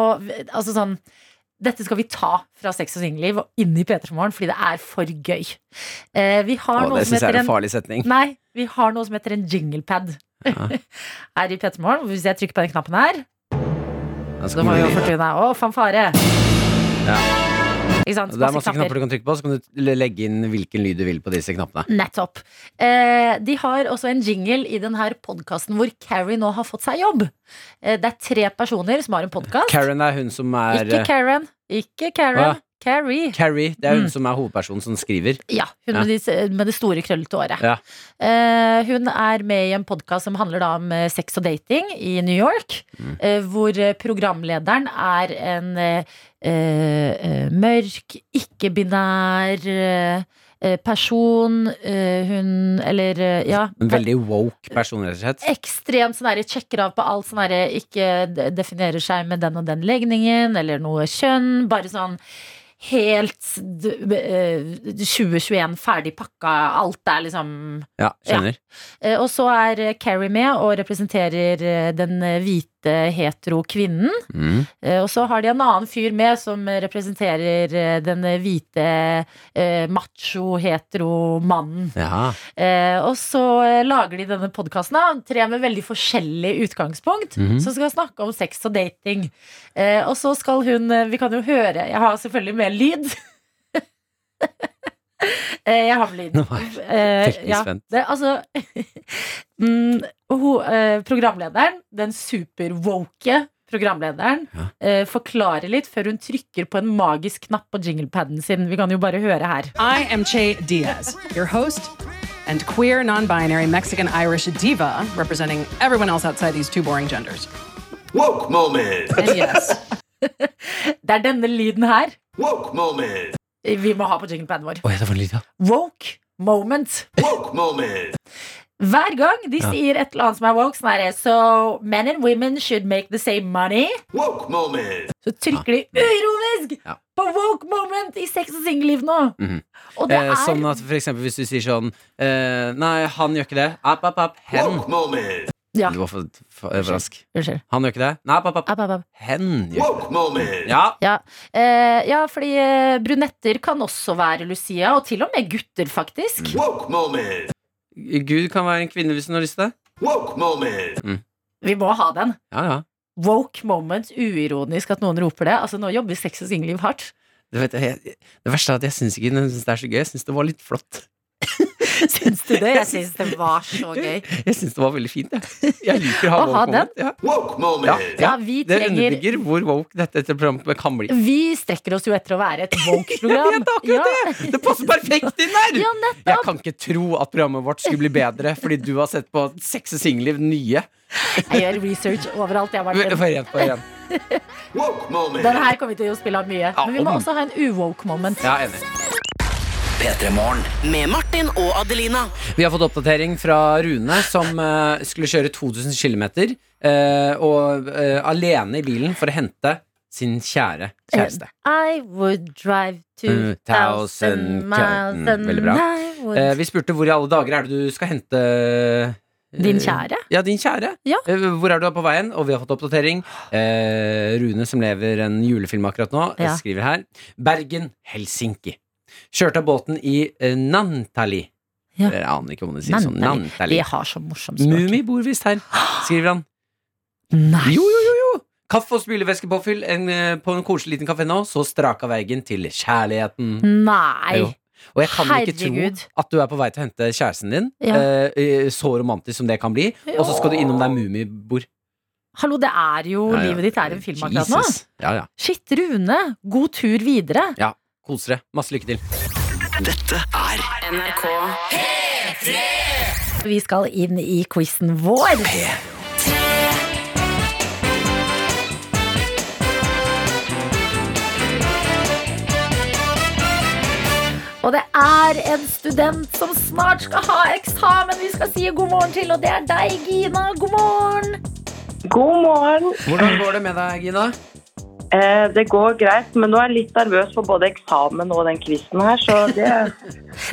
Speaker 2: Altså sånn Dette skal vi ta fra sex og singelliv og inn i P3 Morgen, fordi det er for gøy. Eh, Vi har
Speaker 3: Å,
Speaker 2: noe
Speaker 3: det
Speaker 2: som
Speaker 3: syns jeg
Speaker 2: heter Mm.
Speaker 3: er en
Speaker 2: en
Speaker 3: farlig setning.
Speaker 2: Nei, vi har noe som heter en jinglepad
Speaker 3: Ja.
Speaker 2: her i P3 Morgen. Hvis jeg trykker på den knappen her,
Speaker 3: Da
Speaker 2: så får vi jo fortune. Å, fanfare! Ikke sant?
Speaker 3: Det er masse knapper du kan trykke på, så kan du le- legge inn hvilken lyd du vil på disse knappene.
Speaker 2: Nettopp. Eh, de har også en jingle i denne podkasten hvor Carrie nå har fått seg jobb. Eh, det er tre personer som har en podkast.
Speaker 3: Karen er hun som er
Speaker 2: Ikke
Speaker 3: eh,
Speaker 2: Karen. Ikke Karen.
Speaker 3: Hva?
Speaker 2: Carrie.
Speaker 3: Carrie, det er hun
Speaker 2: Mm.
Speaker 3: som er hovedpersonen som skriver.
Speaker 2: Ja, hun
Speaker 3: Ja.
Speaker 2: Med, de, med det store, krøllete håret.
Speaker 3: Ja.
Speaker 2: Eh, hun er med i en podkast som handler da om eh, sex og dating i New York.
Speaker 3: Mm.
Speaker 2: eh, hvor eh, programlederen er en eh, eh, eh, mørk, ikke-binær eh, eh, person. eh, hun Eller eh, ja.
Speaker 3: En veldig woke person, rett og slett.
Speaker 2: ekstremt sånn derre sjekker av på alt sånn derre ikke de- definerer seg med den og den legningen eller noe kjønn. Bare sånn helt d- eh, 2021 ferdig pakka. Alt er liksom
Speaker 3: Ja, skjønner.
Speaker 2: Eh, Og så er eh, Carrie med og representerer eh, den eh, hvite hetero kvinnen.
Speaker 3: Mm.
Speaker 2: Eh, Og så har de en annen fyr med som eh, representerer eh, den eh, hvite eh, macho hetero mannen.
Speaker 3: Ja.
Speaker 2: Eh, og så eh, lager de denne podkasten, tre med veldig forskjellig utgangspunkt,
Speaker 3: Mhm.
Speaker 2: som skal snakke om sex og dating. Eh, og så skal hun eh, Vi kan jo høre Jeg har selvfølgelig med lyd. eh, jeg har med lyd.
Speaker 3: Nå var jeg
Speaker 2: Eh,
Speaker 3: Teknisk
Speaker 2: ja,
Speaker 3: spent.
Speaker 2: det, altså mm, ho, eh, Programlederen, den superwoke programlederen, eh, forklarer litt før hun trykker på en magisk knapp på jinglepaden sin. Vi kan jo bare høre her.
Speaker 8: I am Che Diaz, your host and queer, non binary Mexican Irish diva representing everyone else outside these two boring genders.
Speaker 9: Woke moment.
Speaker 8: And yes,
Speaker 2: Det er denne lyden her
Speaker 9: Woke moment.
Speaker 2: vi må ha på jinglepaden vår.
Speaker 3: Oi, det var en lyd, ja.
Speaker 2: Woke moment.
Speaker 9: Woke moment.
Speaker 2: Hver gang de sier et eller annet som er woke, sånn herre So men and women should make the same money.
Speaker 9: Woke moment.
Speaker 2: Så trykker de uironisk
Speaker 3: Ja.
Speaker 2: på woke moment i sex og singelliv nå.
Speaker 3: Mhm.
Speaker 2: Og det
Speaker 3: Eh,
Speaker 2: er
Speaker 3: sånn at for eksempel hvis du sier sånn eh, Nei, han gjør ikke det. App, app, app. Hen.
Speaker 9: Woke moment.
Speaker 2: Ja,
Speaker 3: Du var for, for, for rask.
Speaker 2: unnskyld.
Speaker 3: Han gjør ikke det. Nei, app, app, app.
Speaker 2: App, app, app.
Speaker 3: Hen gjør
Speaker 9: Woke moment.
Speaker 3: Ja.
Speaker 2: Ja, eh, ja fordi eh, brunetter kan også være Lucia, og til og med gutter, faktisk.
Speaker 3: Mm.
Speaker 9: Woke moment.
Speaker 3: Gud kan være en kvinne hvis hun har lyst til det.
Speaker 9: Woke moment.
Speaker 2: Vi må ha den.
Speaker 3: Ja, ja.
Speaker 2: Woke moment, uironisk at noen roper det. Altså, Nå jobber sex og singelliv hardt.
Speaker 3: Du vet, jeg, det verste er at jeg syns ikke den synes det er så gøy. Jeg syns det var litt flott.
Speaker 2: Syns du det? Jeg syns det var så gøy.
Speaker 3: Jeg syns det var veldig fint, jeg. Jeg liker å ha
Speaker 2: Å ha
Speaker 3: woke moment. Ja.
Speaker 9: Woke
Speaker 3: Ja,
Speaker 9: moment.
Speaker 2: Ja, vi
Speaker 3: det
Speaker 2: trenger
Speaker 3: underbygger hvor woke dette, dette programmet kan bli.
Speaker 2: Vi strekker oss jo etter å være et woke-program.
Speaker 3: Jeg vet akkurat
Speaker 2: ja.
Speaker 3: Det passer perfekt inn der!
Speaker 2: Ja,
Speaker 3: jeg kan ikke tro at programmet vårt skulle bli bedre fordi du har sett på Sex og singelliv nye.
Speaker 2: Jeg gjør research overalt. Jeg, Martin.
Speaker 3: For igjen, for igjen.
Speaker 9: Woke moment.
Speaker 2: Den her kommer vi til å spille av mye.
Speaker 3: Ja,
Speaker 2: Men vi må
Speaker 3: om.
Speaker 2: også ha en uwoke-moment.
Speaker 3: Ja, enig.
Speaker 4: P3-morgen.
Speaker 5: Med Martin og Adelina.
Speaker 3: Vi har fått oppdatering fra Rune, som eh, skulle kjøre 2000 km og, eh, alene i bilen for å hente sin kjære kjæreste.
Speaker 2: I would drive
Speaker 3: Mm,
Speaker 2: 2000
Speaker 3: thousand
Speaker 2: miles
Speaker 3: Mm,
Speaker 2: and
Speaker 3: veldig bra.
Speaker 2: I would
Speaker 3: Eh, vi spurte hvor i alle dager er det du skal hente eh,
Speaker 2: Din kjære?
Speaker 3: Ja, din kjære.
Speaker 2: Ja.
Speaker 3: Eh, Hvor er du på veien? Og vi har fått oppdatering. Eh, Rune, som lever en julefilm akkurat nå, eh,
Speaker 2: Ja.
Speaker 3: skriver her. Bergen, Helsinki. Kjørte av båten i eh, Nantali. Eh,
Speaker 2: Ja.
Speaker 3: Jeg aner ikke om det sies sånn.
Speaker 2: Nantali. De
Speaker 3: Nantali.
Speaker 2: har så morsomt språk.
Speaker 3: Mumi bor visst her, skriver han.
Speaker 2: Nei.
Speaker 3: Jo, jo, jo, jo. Kaffe og spylevæskepåfyll en, eh, på en koselig liten kafé nå, så straka veien til kjærligheten.
Speaker 2: Nei.
Speaker 3: Jo. Og jeg kan
Speaker 2: Herregud.
Speaker 3: ikke tro at du er på vei til å hente kjæresten din.
Speaker 2: Ja.
Speaker 3: eh, eh, så romantisk som det kan bli. Og så skal du innom der Mummi bor.
Speaker 2: Hallo, det er jo
Speaker 3: Ja, ja.
Speaker 2: Livet ditt er en film akkurat nå.
Speaker 3: Jesus. Ja, ja.
Speaker 2: Shit, Rune. God tur videre.
Speaker 3: ja. Kos dere. Masse lykke til.
Speaker 5: NRK.
Speaker 2: Vi skal inn i quizen vår. Og det er en student som snart skal ha eksamen vi skal si god morgen til, og det er deg, Gina. God morgen.
Speaker 10: God morgen.
Speaker 3: Hvordan går det med deg, Gina?
Speaker 10: Eh, det går greit, men nå er jeg litt nervøs for både eksamen og den quizen her, så det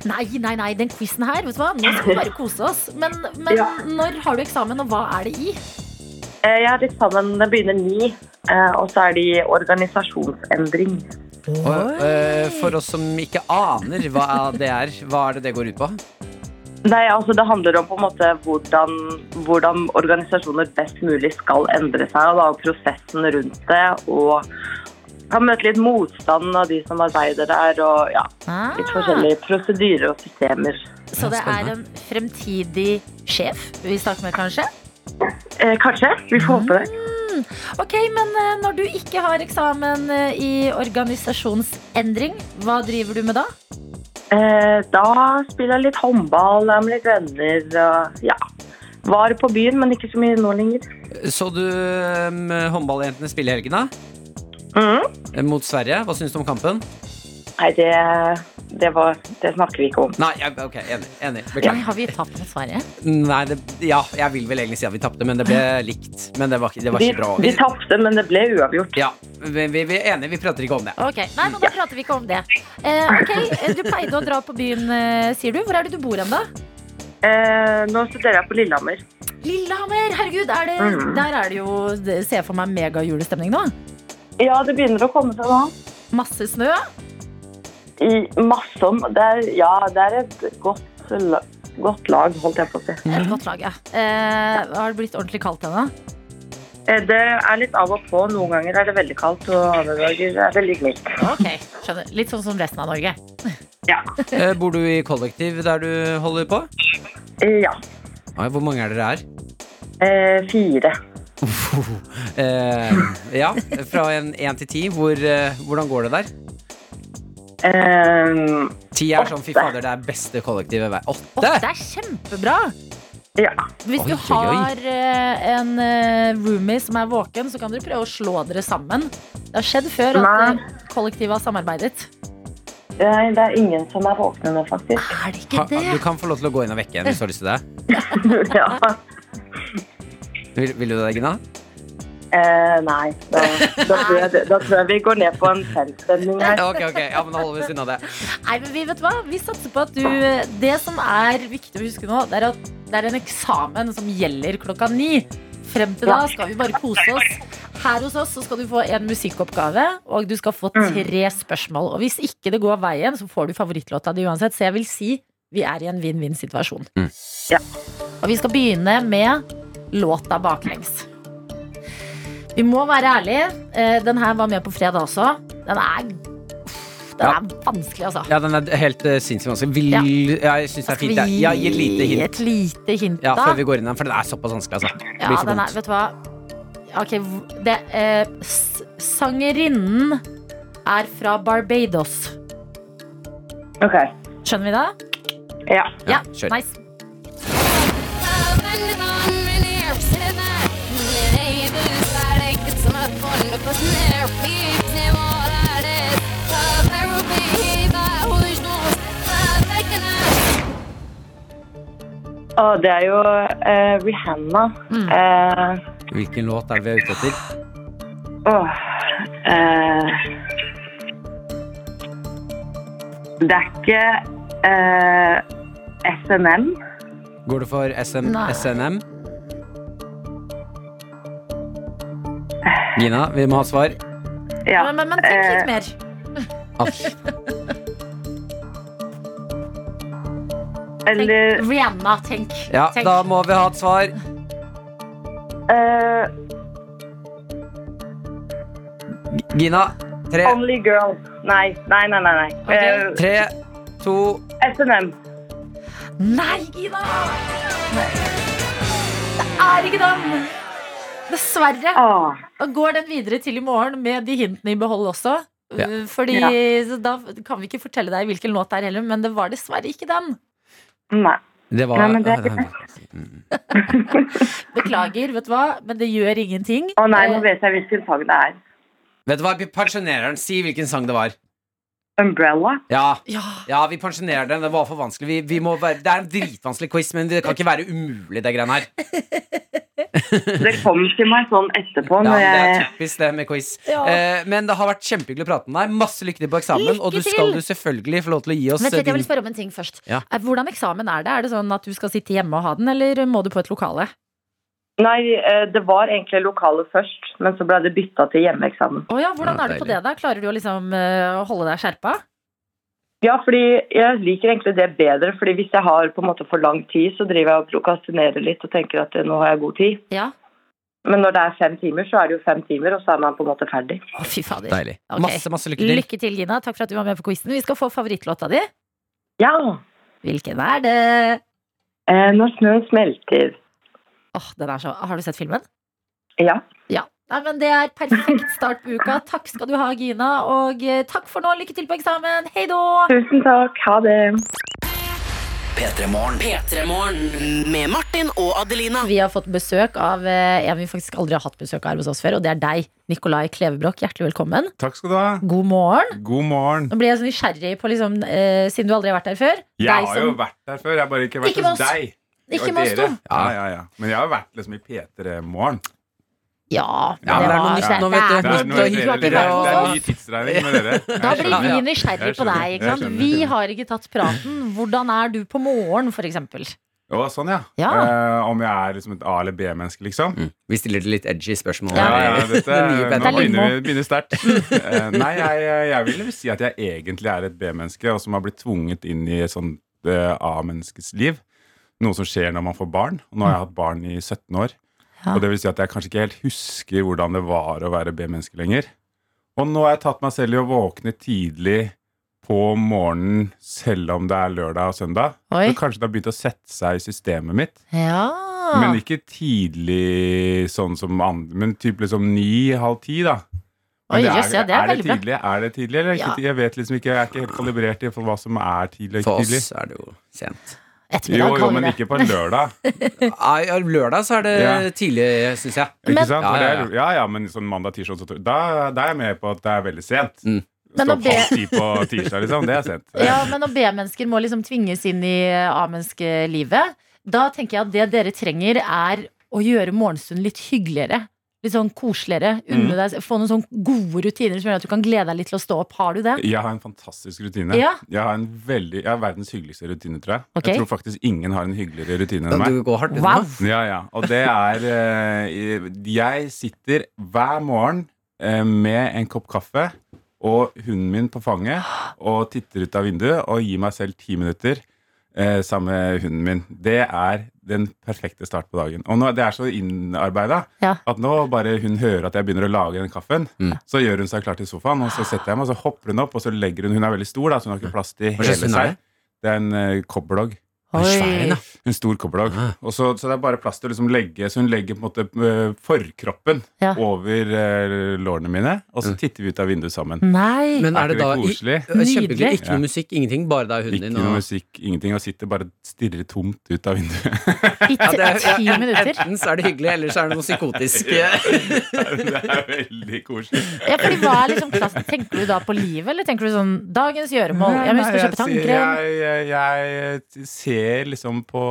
Speaker 2: Nei, nei, nei, den quizen her, vet du hva. Nå skal vi bare kose oss. Men, men
Speaker 10: Ja.
Speaker 2: når har du eksamen, og hva er det i?
Speaker 10: eh, Jeg har eksamen, den begynner ni, eh, og så er det i organisasjonsendring.
Speaker 3: Og, eh, for oss som ikke aner hva det er, hva er det det går ut på?
Speaker 10: Nei, altså det handler om på en måte hvordan, hvordan organisasjoner best mulig skal endre seg, og da og prosessen rundt det, og kan møte litt motstand av de som arbeider der, og ja, litt forskjellige prosedyrer og systemer.
Speaker 2: Ah, Så det er en fremtidig sjef vi snakker med, kanskje?
Speaker 10: Eh, kanskje? Vi får håpe det.
Speaker 2: Ok, men eh, når du ikke har eksamen eh, i organisasjonsendring, hva driver du med da?
Speaker 10: Eh, da spiller jeg litt håndball, er med litt venner og ja. Var på byen, men ikke så mye nå lenger.
Speaker 3: Så du eh, håndballjentene spille i helgen, da?
Speaker 10: Mhm.
Speaker 3: Eh, Mot Sverige. Hva syns du om kampen?
Speaker 10: Nei, det, det, var, det snakker vi ikke om.
Speaker 3: Nei, jeg, ok, enig. enig.
Speaker 2: Nei,
Speaker 3: Beklager.
Speaker 2: har vi tapt mot Sverige?
Speaker 3: Nei, det, ja, jeg vil vel egentlig si at vi tapte, men det ble likt. Men det var, ikke- det var
Speaker 10: Vi,
Speaker 3: ikke bra.
Speaker 10: vi tapte, men det ble uavgjort.
Speaker 3: Ja, vi, vi, vi er enige, vi prater ikke om det.
Speaker 2: Ok, Nei, men da prater vi ikke om det. Eh, ok, eh, Du pleide å dra på byen, eh, sier du. Hvor er det du bor hen, da?
Speaker 10: Eh, nå studerer jeg på Lillehammer.
Speaker 2: Lillehammer! Herregud, er det,
Speaker 10: Mm.
Speaker 2: der er det jo det- Ser jeg for meg megajulestemning nå.
Speaker 10: Ja, det begynner å komme seg nå.
Speaker 2: Masse snø.
Speaker 10: I masse om. Det er, ja, det er et godt, la- godt lag, holdt jeg på å si.
Speaker 2: Et godt lag, ja. Eh, har det blitt ordentlig kaldt ennå?
Speaker 10: Eh, det er litt av og på. Noen ganger er det veldig kaldt, og andre dager er det litt mildt.
Speaker 2: Ok, skjønner. Litt sånn som resten av Norge.
Speaker 10: Ja.
Speaker 3: Eh, Bor du i kollektiv der du holder på?
Speaker 10: Eh, ja.
Speaker 3: Ah, Hvor mange er dere her?
Speaker 10: Eh, fire.
Speaker 3: Eh, ja, fra en én til ti. Hvor, eh, hvordan går det der?
Speaker 10: Eh,
Speaker 3: Ti er sånn fy fader, det er beste kollektivet hver.
Speaker 2: Å, det
Speaker 3: Åtte?
Speaker 2: er kjempebra!
Speaker 10: ja.
Speaker 2: Hvis du
Speaker 3: Oi, oi, oi.
Speaker 2: har eh, en eh, roomie som er våken, så kan dere prøve å slå dere sammen. Det har skjedd før at
Speaker 10: Nei.
Speaker 2: eh, kollektivet har samarbeidet.
Speaker 10: Nei, det er ingen som er våkne nå, faktisk.
Speaker 2: Er det
Speaker 3: Ha,
Speaker 2: ikke det?
Speaker 3: du kan få lov til å gå inn og vekke henne hvis du har lyst til det.
Speaker 10: ja.
Speaker 3: Vil, vil du det, Gina?
Speaker 10: eh, nei, da, da, tror jeg, da tror jeg vi går ned på en feltstemning her.
Speaker 3: Ok, ok, ja, men Da holder vi oss unna det.
Speaker 2: Nei, men vi vet hva? Vi satser på at du Det som er viktig å huske nå, det er at det er en eksamen som gjelder klokka ni. Frem til da skal vi bare kose oss. Her hos oss så skal du få en musikkoppgave, og du skal få
Speaker 3: Mm.
Speaker 2: tre spørsmål. Og hvis ikke det går veien, så får du favorittlåta di uansett. Så jeg vil si vi er i en vinn-vinn-situasjon.
Speaker 3: Mm.
Speaker 10: Ja.
Speaker 2: Og vi skal begynne med låta baklengs. Vi må være ærlige. Eh, Den her var med på fredag også. Den er, den
Speaker 3: Ja.
Speaker 2: er vanskelig, altså.
Speaker 3: Ja, den er helt uh, sinnssykt vanskelig. Vil,
Speaker 2: Ja.
Speaker 3: ja. Jeg syns det er fint. jeg. Ja, gi et lite hint.
Speaker 2: Et lite hint,
Speaker 3: Ja,
Speaker 2: da.
Speaker 3: før vi går inn i den, for den er såpass vanskelig. Altså. Det
Speaker 2: ja,
Speaker 3: blir for
Speaker 2: den er,
Speaker 3: dumt.
Speaker 2: vet du hva? Ok, v- det eh, s- Sangerinnen er fra Barbados.
Speaker 10: Ok,
Speaker 2: Skjønner vi det?
Speaker 10: ja.
Speaker 2: Ja,
Speaker 3: kjør.
Speaker 2: nice.
Speaker 10: Og det er jo eh, Rihanna.
Speaker 2: Mm.
Speaker 10: Eh,
Speaker 3: Hvilken låt er det vi er ute etter?
Speaker 10: åh, eh, det er ikke eh, SNM.
Speaker 3: Går det for SM,
Speaker 2: Nei.
Speaker 3: SNM? Gina, vi må ha svar.
Speaker 10: Ja.
Speaker 2: Men, men, men tenk
Speaker 10: eh,
Speaker 2: litt mer.
Speaker 3: Asj.
Speaker 10: Eller
Speaker 2: Tenk, Rihanna, tenk.
Speaker 3: Ja,
Speaker 2: tenk.
Speaker 3: da må vi ha et svar.
Speaker 10: eh,
Speaker 3: Gina. Tre,
Speaker 10: Only Girl. Nei, nei, nei. nei, nei.
Speaker 2: Ok.
Speaker 10: Eh,
Speaker 3: tre to
Speaker 10: SNM.
Speaker 2: Nei, Gina! Det er ikke den! Dessverre.
Speaker 10: Åh,
Speaker 2: Og går den videre til i morgen med de hintene i behold også.
Speaker 3: Ja.
Speaker 2: Uh, Fordi så Da kan vi ikke fortelle deg hvilken låt det er heller, men det var dessverre ikke den.
Speaker 10: nei.
Speaker 3: Det var
Speaker 10: Nei, men det er ikke
Speaker 2: Beklager, vet du hva, men det gjør ingenting.
Speaker 10: Å nei, nå
Speaker 2: Eh,
Speaker 10: vet jeg hvilken sang det er.
Speaker 3: Vet du hva, vi pensjonerer den. Si hvilken sang det var.
Speaker 10: Umbrella.
Speaker 3: Ja,
Speaker 2: Eh, ja.
Speaker 3: ja vi pensjonerer den. Det var for vanskelig. Vi, vi må være, det er en dritvanskelig quiz, men det kan ikke være umulig, det greiene her.
Speaker 10: Det kom til meg sånn
Speaker 3: Ja,
Speaker 10: etterpå. Når
Speaker 3: men det er
Speaker 10: jeg,
Speaker 3: typisk det med quiz.
Speaker 2: Ja.
Speaker 3: Eh, men det har vært kjempehyggelig å prate med deg. Masse lykke til på eksamen.
Speaker 2: Lykke
Speaker 3: og du
Speaker 2: til!
Speaker 3: skal jo selvfølgelig få lov til å gi oss
Speaker 2: Vent litt, jeg
Speaker 3: din
Speaker 2: vil spørre om en ting først.
Speaker 3: Ja.
Speaker 2: Eh, Hvordan eksamen er det? Er det sånn at du skal sitte hjemme og ha den, eller må du på et lokale?
Speaker 10: nei, eh, det var egentlig lokalet først, men så ble det bytta til hjemmeeksamen.
Speaker 2: Å ja, hvordan
Speaker 3: Ja,
Speaker 2: er du på
Speaker 3: deilig.
Speaker 2: det, da? Klarer du å liksom eh, holde deg skjerpa?
Speaker 10: Ja, fordi jeg liker egentlig det bedre, fordi hvis jeg har på en måte for lang tid, så driver jeg og prokastinerer litt og tenker at eh, nå har jeg god tid.
Speaker 2: Ja.
Speaker 10: Men når det er fem timer, så er det jo fem timer, og så er man på en måte ferdig.
Speaker 2: Å, fy fader.
Speaker 3: Deilig.
Speaker 2: Ok.
Speaker 3: Masse, masse lykke til.
Speaker 2: Lykke til, Gina. Takk for at du var med på quizen. Vi skal få favorittlåta di.
Speaker 10: Ja!
Speaker 2: Hvilken er det?
Speaker 10: Eh, når snøen smelter.
Speaker 2: Åh, den er så Har du sett filmen?
Speaker 10: Ja.
Speaker 2: Ja. Nei, men Det er perfekt start på uka. Takk skal du ha, Gina. Og eh, takk for nå. Lykke til på eksamen. Hei da!
Speaker 10: Tusen takk. Ha det.
Speaker 4: P3morgen.
Speaker 5: P3morgen. Med Martin og Adelina.
Speaker 2: Vi har fått besøk av eh, en vi faktisk aldri har hatt besøk av her hos oss før, og det er deg, Nikolai Klevebrok. Hjertelig velkommen.
Speaker 6: Takk skal du ha.
Speaker 2: God morgen.
Speaker 6: God morgen.
Speaker 2: Nå blir jeg så nysgjerrig på, liksom, eh, siden du aldri har vært her før
Speaker 6: Jeg
Speaker 2: deg
Speaker 6: har
Speaker 2: som-
Speaker 6: jo vært der før, jeg har bare ikke vært
Speaker 2: Ikke med
Speaker 6: hos
Speaker 2: oss.
Speaker 6: deg.
Speaker 2: Ikke
Speaker 6: Og
Speaker 2: med oss
Speaker 6: dere.
Speaker 2: to.
Speaker 6: Ja, ja, ja. Men jeg har vært liksom i P3morgen.
Speaker 2: Ja,
Speaker 6: Ja, men
Speaker 2: det
Speaker 6: det er
Speaker 2: var
Speaker 6: noe
Speaker 2: det
Speaker 6: nytt
Speaker 2: er-
Speaker 3: nå, vet
Speaker 2: det
Speaker 3: du.
Speaker 2: er
Speaker 3: Nytt
Speaker 2: noe-
Speaker 6: noe
Speaker 3: og
Speaker 2: du har ikke
Speaker 6: dere- det
Speaker 2: vært
Speaker 6: er
Speaker 3: hyggelig.
Speaker 2: hos
Speaker 6: en
Speaker 2: oss.
Speaker 6: ny tidsregning med dere.
Speaker 2: Da
Speaker 6: Jeg
Speaker 2: blir
Speaker 6: skjønner.
Speaker 2: vi
Speaker 6: Ja.
Speaker 2: nysgjerrig
Speaker 6: Jeg
Speaker 2: på deg.
Speaker 6: skjønner.
Speaker 2: ikke sant?
Speaker 6: Jeg skjønner.
Speaker 2: Vi har ikke tatt praten. Hvordan er du på morgen, for eksempel?
Speaker 6: Å, sånn, ja.
Speaker 2: Ja.
Speaker 6: Eh, om jeg er liksom et A- eller B-menneske, liksom.
Speaker 3: Mm. Vi stiller litt edgy spørsmål.
Speaker 6: Ja, ja, dette,
Speaker 3: Det er mye
Speaker 6: nå
Speaker 3: bedre.
Speaker 6: begynner vi begynner sterkt. Eh, Nei, jeg, jeg vil vel si at jeg egentlig er et B-menneske, og som har blitt tvunget inn i et sånt eh, A-menneskes liv. Noe som skjer når man får barn. Og nå har jeg hatt barn i 17 år.
Speaker 2: Ja.
Speaker 6: Og det vil si at jeg kanskje ikke helt husker hvordan det var å være B-menneske lenger. Og nå har jeg tatt meg selv i å våkne tidlig på morgenen, selv om det er lørdag og søndag.
Speaker 2: Oi.
Speaker 6: Så kanskje det har begynt å sette seg i systemet mitt.
Speaker 2: Ja.
Speaker 6: Men ikke tidlig sånn som andre, men typ liksom ni, halv ti, da. Men
Speaker 2: Oi, jøss, ja, det er
Speaker 6: er, det
Speaker 2: veldig bra.
Speaker 6: tidlig, er det tidlig, eller ikke?
Speaker 2: Ja.
Speaker 6: tidlig? Jeg vet liksom ikke, jeg er ikke helt kalibrert i for hva som er tidlig og ikke
Speaker 3: For
Speaker 6: tidlig.
Speaker 3: oss er det jo sent.
Speaker 6: Jo,
Speaker 2: Ettermiddag
Speaker 6: jo,
Speaker 2: kaller
Speaker 6: men
Speaker 2: vi det.
Speaker 6: ikke på en lørdag.
Speaker 3: Nei, ja, Lørdag så er det
Speaker 6: Ja.
Speaker 3: tidlig, syns jeg.
Speaker 6: Ikke
Speaker 2: Men-
Speaker 6: sant?
Speaker 3: Ja,
Speaker 6: Ja,
Speaker 3: ja,
Speaker 6: ja,
Speaker 3: ja.
Speaker 6: ja. ja, men sånn mandag, tirsdag, og så- da, da er jeg med på at det er veldig sent.
Speaker 3: Mm.
Speaker 2: Men
Speaker 6: Stå
Speaker 2: å
Speaker 6: opp
Speaker 2: be-
Speaker 6: halv ti på tirsdag, liksom. Det er sent.
Speaker 2: Ja, men når B-mennesker må liksom tvinges inn i A-menneskelivet, da tenker jeg at det dere trenger, er å gjøre morgenstunden litt hyggeligere. Litt sånn koseligere.
Speaker 3: Mm.
Speaker 2: Unne deg, få noen sånne gode rutiner som gjør at du kan glede deg litt til å stå opp. Har du det?
Speaker 6: Jeg har en fantastisk rutine.
Speaker 2: Ja.
Speaker 6: Jeg har en veldig, jeg har verdens hyggeligste rutine, tror jeg.
Speaker 2: Ok.
Speaker 6: Jeg tror faktisk ingen har en hyggeligere rutine
Speaker 3: Ja,
Speaker 6: enn meg.
Speaker 3: du går hardt ut
Speaker 2: Wow.
Speaker 3: nå.
Speaker 6: Ja, ja. Og det er eh, Jeg sitter hver morgen eh, med en kopp kaffe og hunden min på fanget og titter ut av vinduet og gir meg selv ti minutter eh, sammen med hunden min. Det er den perfekte start på dagen. Og nå, det er så innarbeida
Speaker 2: Ja.
Speaker 6: at nå bare hun hører at jeg begynner å lage den kaffen,
Speaker 3: Mm.
Speaker 6: så gjør hun seg klar til sofaen, og så setter jeg meg, og så hopper hun opp, og så legger hun Hun er veldig stor, da, så hun har ikke plass til
Speaker 3: Mm. Hva slags
Speaker 6: hele
Speaker 3: hund er det?
Speaker 6: seg. Det er en uh, cobberdog.
Speaker 3: Den er svær, den, da.
Speaker 6: En stor kobberdog.
Speaker 3: Ah.
Speaker 6: Og Så, så det er bare plass til å liksom legge Så hun legger på en måte eh, forkroppen
Speaker 2: Ja.
Speaker 6: over eh, lårene mine, og
Speaker 3: Mm.
Speaker 6: så titter vi ut av vinduet sammen.
Speaker 2: Nei!
Speaker 3: Men er det
Speaker 6: ikke
Speaker 3: da
Speaker 6: det koselig?
Speaker 3: i- Kjempehyggelig. Ikke
Speaker 6: Ja.
Speaker 3: noe musikk, ingenting. Bare deg og hunden
Speaker 6: Ikke
Speaker 3: din.
Speaker 6: noe
Speaker 3: Og...
Speaker 6: musikk, ingenting. Og sitter bare og stirrer tomt ut av vinduet.
Speaker 2: I
Speaker 3: Ja, det er-
Speaker 2: ti
Speaker 3: ja,
Speaker 2: minutter.
Speaker 3: Enten så er det hyggelig, eller så er det noe psykotisk.
Speaker 6: det er veldig koselig.
Speaker 2: Ja, fordi hva er liksom klass? Tenker du da på livet, eller tenker du sånn dagens gjøremål? Ja, men vi skal
Speaker 6: Nei,
Speaker 2: kjøpe
Speaker 6: jeg,
Speaker 2: tannkrem.
Speaker 6: jeg, jeg, jeg ser liksom på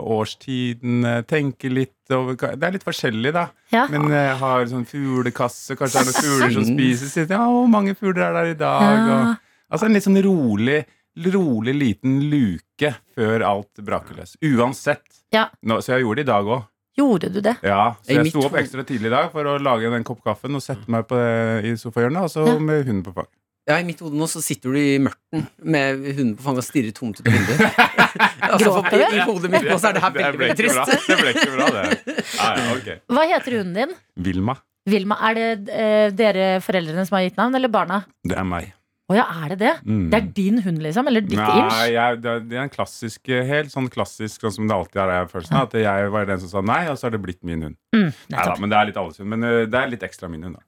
Speaker 6: årstiden, eh, tenker litt over hva- Det er litt forskjellig, da.
Speaker 2: Ja.
Speaker 6: Men jeg har sånn fuglekasse, kanskje det er noen fugler som spiser. Sier, ja, hvor mange fugler er der i dag?
Speaker 2: Ja.
Speaker 6: Og, altså en litt sånn rolig, rolig liten luke før alt braker løs. Uansett.
Speaker 2: Ja.
Speaker 6: Nå, så jeg gjorde det i dag òg.
Speaker 2: Gjorde du det?
Speaker 6: Ja,
Speaker 3: I
Speaker 6: så jeg
Speaker 3: mitt
Speaker 6: sto opp
Speaker 3: hode-
Speaker 6: ekstra tidlig i dag for å lage den kopp kaffen og sette meg på, eh, i sofahjørnet, og så
Speaker 2: Ja.
Speaker 6: med hunden på fanget.
Speaker 3: Ja, I mitt hode nå så sitter du i mørten med hunden på fanget og stirrer tomt ut av vinduet. altså, for, i, I hodet mitt nå så er det her veldig,
Speaker 6: ble
Speaker 3: veldig
Speaker 6: ikke bra.
Speaker 3: trist.
Speaker 6: Det ble ikke bra, det. Ja, ja, ok.
Speaker 2: Hva heter hunden din?
Speaker 6: Vilma,
Speaker 2: Vilma, er det eh, dere foreldrene som har gitt navn, eller barna?
Speaker 6: det er meg.
Speaker 2: Å ja, er det det?
Speaker 6: Mm.
Speaker 2: Det er din hund, liksom? Eller ditt
Speaker 6: Nei,
Speaker 2: image?
Speaker 6: jeg, det, er, det er en klassisk, eh, helt sånn klassisk sånn som det alltid er, jeg har følelsen av, at jeg var den som sa nei, og så har det blitt min hund.
Speaker 2: Mm,
Speaker 6: Neida,
Speaker 2: nettopp.
Speaker 6: men det er litt alles hund, men eh, det er litt ekstra min hund. Da.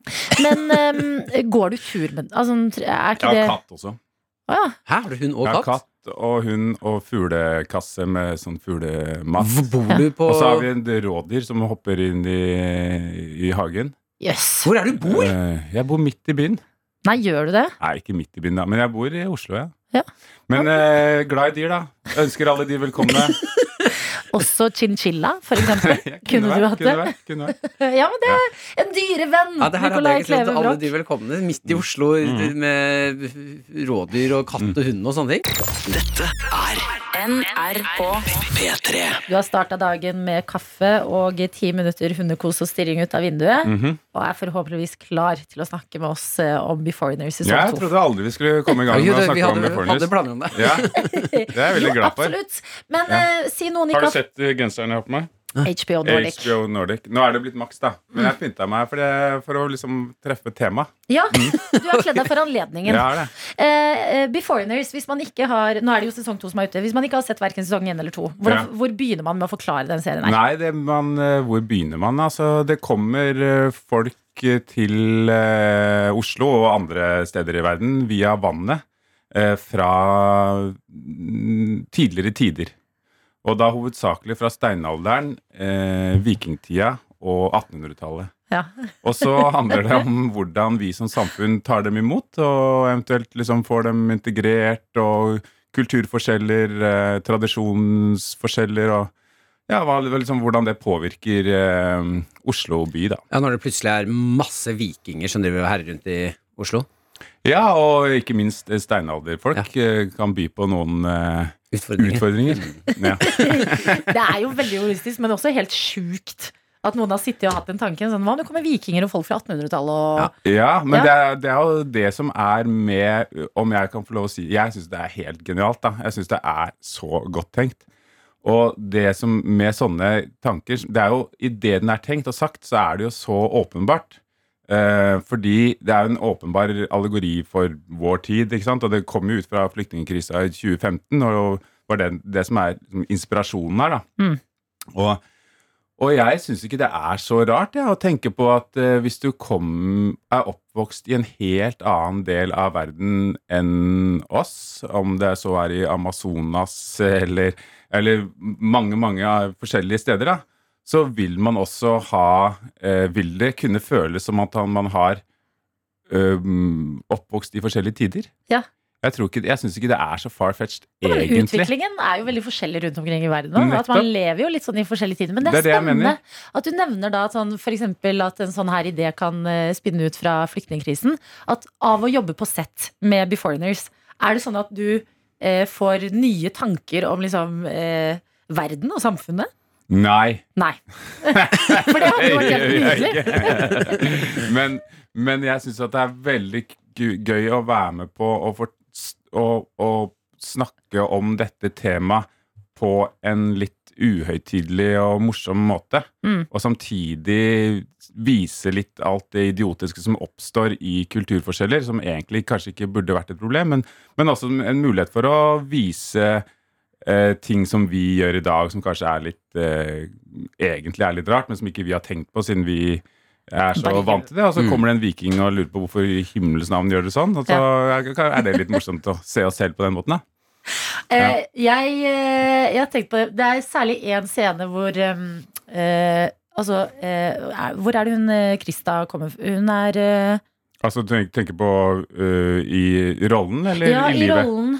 Speaker 2: Men ehm, går du tur med altså, Er ikke
Speaker 6: Jeg
Speaker 2: det
Speaker 6: har katt også.
Speaker 2: Å ja.
Speaker 3: Hæ, har du hund og
Speaker 6: Jeg har
Speaker 3: katt?
Speaker 6: katt og hund og fuglekasse med sånn fuglemat.
Speaker 3: Hvor bor du på
Speaker 6: Og så har vi en rådyr som hopper inn i, i hagen.
Speaker 2: Jøss.
Speaker 3: Hvor er det du bor?
Speaker 6: Eh, Jeg bor midt i byen.
Speaker 2: Nei, gjør du det?
Speaker 6: Nei, ikke midt i byen, da, men jeg bor i Oslo, ja.
Speaker 2: Ja.
Speaker 6: Men eh, glad i dyr, da. Ønsker alle dyr velkomne.
Speaker 2: Også chinchilla, for eksempel?
Speaker 6: Jeg
Speaker 2: Kunne du hatt
Speaker 6: kunne
Speaker 2: det?
Speaker 6: vært, kunne vært.
Speaker 2: ja, men det er en dyrevenn!
Speaker 3: Ja, det her hadde
Speaker 2: Nicolai
Speaker 3: jeg ikke trodd.
Speaker 2: Kleve
Speaker 3: Alle
Speaker 2: Broch.
Speaker 3: de velkomne midt i Oslo
Speaker 6: Mm.
Speaker 3: med rådyr og katt og hund og sånne ting.
Speaker 1: NRK.
Speaker 4: P3
Speaker 2: Du har starta dagen med kaffe og ti minutter hundekos og stirring ut av vinduet.
Speaker 6: Mhm.
Speaker 2: Og er forhåpentligvis klar til å snakke med oss eh, om Beforeigners sesong
Speaker 6: Jeg
Speaker 2: to.
Speaker 6: trodde aldri vi skulle komme i
Speaker 3: Ja,
Speaker 6: gang
Speaker 3: jo,
Speaker 6: med å
Speaker 3: det, vi
Speaker 6: snakke
Speaker 3: hadde,
Speaker 6: om
Speaker 3: hadde
Speaker 6: Beforeigners.
Speaker 3: planer om det.
Speaker 6: Ja, det er jeg veldig
Speaker 2: Jo,
Speaker 6: glad for.
Speaker 2: absolutt. Men
Speaker 6: Ja.
Speaker 2: eh, si noen
Speaker 6: Har
Speaker 2: ikke
Speaker 6: du sett eh, genseren jeg har på meg?
Speaker 2: HBO Nordic.
Speaker 6: HBO Nordic. Nå er det blitt maks, da. Men jeg pynta meg for, det, for å liksom treffe temaet.
Speaker 2: Ja, du har kledd deg for anledningen.
Speaker 6: Jeg er Mhm. det.
Speaker 2: Eh, eh, Beforeigners, hvis man ikke har Nå er det jo sesong to som er ute. Hvis man ikke har sett verken sesong én eller to, hvordan,
Speaker 6: Ja.
Speaker 2: hvor begynner man med å forklare den serien? her?
Speaker 6: Nei, det, man, eh, hvor begynner man? Altså, det kommer eh, folk eh, til eh, Oslo og andre steder i verden via vannet eh, fra mm, tidligere tider. Og da hovedsakelig fra steinalderen, eh, vikingtida og 1800-tallet.
Speaker 2: Ja.
Speaker 6: Og så handler det om hvordan vi som samfunn tar dem imot, og eventuelt liksom får dem integrert, og kulturforskjeller, eh, tradisjonsforskjeller, og ja, hva, liksom, hvordan det påvirker eh, Oslo by, da.
Speaker 3: Ja, Når det plutselig er masse vikinger som driver og herrer rundt i Oslo.
Speaker 6: Ja, og ikke minst eh, steinalderfolk eh, kan by på noen eh,
Speaker 3: Utfordringer.
Speaker 6: utfordringer. Ja.
Speaker 2: Det er jo veldig humoristisk, men også helt sjukt. At noen har sittet og hatt den tanken. Sånn, hva om det kommer vikinger og folk fra 1800-tallet? Og...
Speaker 3: Ja.
Speaker 6: Ja, men
Speaker 2: Ja.
Speaker 6: Det, er, det er jo det som er med Om jeg kan få lov å si Jeg syns det er helt genialt. da Jeg syns det er så godt tenkt. Og det som med sånne tanker Det er jo idet den er tenkt og sagt, så er det jo så åpenbart. Eh, fordi det er jo en åpenbar allegori for vår tid. ikke sant? Og det kom jo ut fra flyktningkrisa i 2015, og var det, det som er liksom, inspirasjonen her. da og, og jeg syns ikke det er så rart jeg, å tenke på at eh, hvis du kom, er oppvokst i en helt annen del av verden enn oss, om det så er i Amazonas eller, eller mange, mange forskjellige steder, da, så vil man også ha eh, Vil det kunne føles som at han- man har øhm, oppvokst i forskjellige tider.
Speaker 2: Ja.
Speaker 6: Jeg, tror ikke- jeg syns ikke det er så far-fetched,
Speaker 2: Men
Speaker 6: egentlig.
Speaker 2: Utviklingen er jo veldig forskjellig rundt omkring i verden. også, At man
Speaker 6: Nettopp.
Speaker 2: lever jo litt sånn i forskjellige tider. Men det er,
Speaker 6: Det er det jeg
Speaker 2: spennende
Speaker 6: mener.
Speaker 2: at du nevner da at sånn, for eksempel at en sånn her idé kan eh, spinne ut fra flyktningkrisen. At av å jobbe på sett med Beforeigners, er det sånn at du eh, får nye tanker om liksom eh, verden og samfunnet?
Speaker 6: Nei.
Speaker 2: Nei. For det hadde jo vært helt
Speaker 6: Jeg gjør
Speaker 2: nydelig.
Speaker 6: jeg ikke. men, men jeg syns at det er veldig gu- gøy å være med på å, få s- å, å snakke om dette temaet på en litt uhøytidelig og morsom måte.
Speaker 2: Mm.
Speaker 6: Og samtidig vise litt alt det idiotiske som oppstår i kulturforskjeller, som egentlig kanskje ikke burde vært et problem, men, men også en mulighet for å vise eh, ting som vi gjør i dag, som kanskje er litt eh, egentlig er litt rart, men som ikke vi har tenkt på siden vi er så
Speaker 2: Bare-
Speaker 6: vant til det. Og så kommer det en viking og lurer på hvorfor i himmelens navn gjør det sånn. Og så er det litt morsomt å se oss selv på den måten, da.
Speaker 2: Eh, jeg, eh, jeg har tenkt på det. Det er særlig én scene hvor eh, eh, Altså, eh, er- hvor er det hun eh, Krista kommer fra? Hun er eh,
Speaker 6: Altså tenk, tenker på øh, i rollen eller
Speaker 2: Ja,
Speaker 6: i
Speaker 2: i
Speaker 6: livet?
Speaker 2: rollen.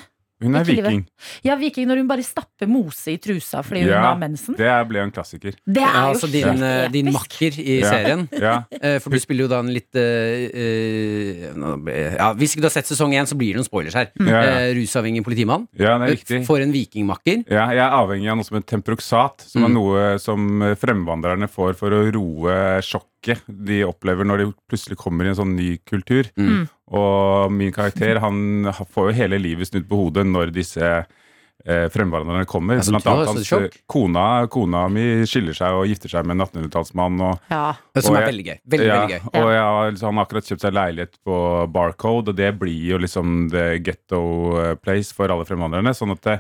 Speaker 6: Hun er
Speaker 2: Ikke i livet.
Speaker 6: viking.
Speaker 2: Ja, viking når hun bare stapper mose i trusa fordi hun har mensen.
Speaker 6: det ble jo en klassiker.
Speaker 2: Det er
Speaker 3: Ja,
Speaker 2: jo
Speaker 3: altså din,
Speaker 2: helt
Speaker 3: eh, din
Speaker 2: episk.
Speaker 3: makker i
Speaker 6: Ja.
Speaker 3: serien.
Speaker 6: Ja.
Speaker 3: Eh, For du spiller jo da en litt eh, eh, nå ble- ja, Hvis ikke du har sett sesong én, så blir det noen spoilers her.
Speaker 6: Ja, ja.
Speaker 3: Eh, rusavhengig politimann.
Speaker 6: ja, det er riktig.
Speaker 3: For en vikingmakker.
Speaker 6: Ja, jeg er avhengig av noe som heter temproxat, som er
Speaker 3: Mm.
Speaker 6: noe som eh, fremvandrerne får for å roe sjokket de opplever når de plutselig kommer i en sånn ny kultur.
Speaker 3: Mm.
Speaker 6: Og min karakter han får jo hele livet snudd på hodet når disse eh, fremvandrerne kommer.
Speaker 3: Ja, så
Speaker 6: Blant
Speaker 3: du har
Speaker 6: annet
Speaker 3: sånn
Speaker 6: hans
Speaker 3: sjokk?
Speaker 6: eh, kona, kona mi skiller seg og gifter seg med en 1800-tallsmann. og
Speaker 2: Ja.
Speaker 3: Som er
Speaker 6: Og jeg-
Speaker 3: veldig gøy. Veldig,
Speaker 6: ja,
Speaker 3: veldig gøy.
Speaker 6: Og jeg har liksom, han har akkurat kjøpt seg leilighet på Barcode, og det blir jo liksom the ghetto eh, place for alle fremvandrerne. Sånn at det,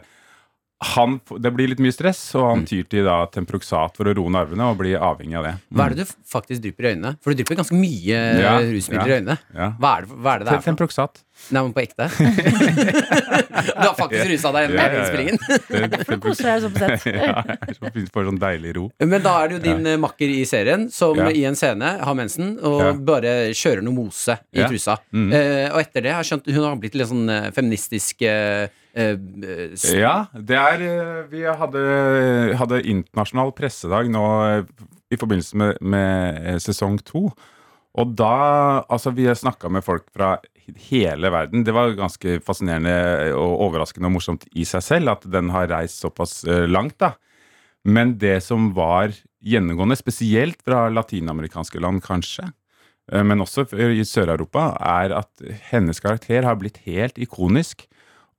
Speaker 6: han, f- det blir litt mye stress, og
Speaker 3: Mm.
Speaker 6: han tyr til da Temproxat for å roe nervene og blir avhengig av det.
Speaker 3: Hva er det du faktisk drypper i øynene? For du drypper ganske mye eh,
Speaker 6: Ja,
Speaker 3: rusmidler i
Speaker 6: ja.
Speaker 3: øynene.
Speaker 6: Ja.
Speaker 3: Hva er det hva er det, det er for noe?
Speaker 6: Temproxat.
Speaker 3: Nei, men på ekte? du har faktisk rusa deg gjennom
Speaker 6: Ja, ja,
Speaker 3: hele
Speaker 6: ja.
Speaker 3: innspillingen.
Speaker 6: Det-
Speaker 2: koser jeg sånn på sett.
Speaker 6: ja, jeg er så- får sånn deilig ro.
Speaker 3: Men da er det jo din eh, makker i serien som
Speaker 6: Ja.
Speaker 3: i en scene har mensen og
Speaker 6: Ja.
Speaker 3: bare kjører noe mose i
Speaker 6: Ja.
Speaker 3: trusa.
Speaker 6: Mm.
Speaker 3: Eh, og etter det har jeg skjønt hun har blitt litt sånn eh, feministisk eh, eh, s-
Speaker 6: Ja, det er eh, Vi hadde, hadde internasjonal pressedag nå eh, i forbindelse med, med eh, sesong to. Og da Altså, vi snakka med folk fra hele verden. Det var ganske fascinerende eh, og overraskende og morsomt i seg selv at den har reist såpass eh, langt, da. Men det som var gjennomgående, spesielt fra latinamerikanske land, kanskje, eh, men også for- i Sør-Europa, er at hennes karakter har blitt helt ikonisk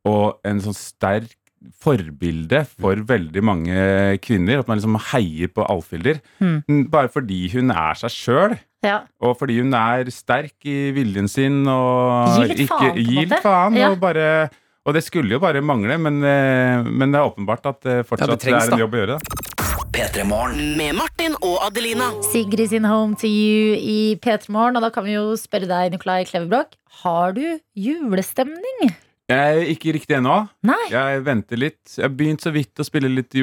Speaker 6: og en sånn sterk forbilde
Speaker 2: Mm.
Speaker 6: for veldig mange kvinner. At man liksom heier på Alfhilder.
Speaker 2: Mm.
Speaker 6: N- Bare fordi hun er seg sjøl,
Speaker 2: Ja.
Speaker 6: og fordi hun er sterk i viljen sin og
Speaker 2: Gi litt faen, på en
Speaker 6: gi
Speaker 2: måte.
Speaker 6: litt faen.
Speaker 2: Ja.
Speaker 6: Og, bare, og det skulle jo bare mangle, men, eh, men det er åpenbart at eh, fortsatt
Speaker 3: det trengs,
Speaker 6: det er
Speaker 3: da.
Speaker 6: en jobb å gjøre. Da.
Speaker 4: P3 Morgen.
Speaker 5: Med Martin og Adelina.
Speaker 2: Sigrid sin Home to You i P3 Morgen. Og da kan vi jo spørre deg, Nikolai Kleverbrok, har du julestemning?
Speaker 6: Jeg er ikke riktig ennå.
Speaker 2: Nei.
Speaker 6: Jeg venter litt. Jeg har begynt så vidt å spille litt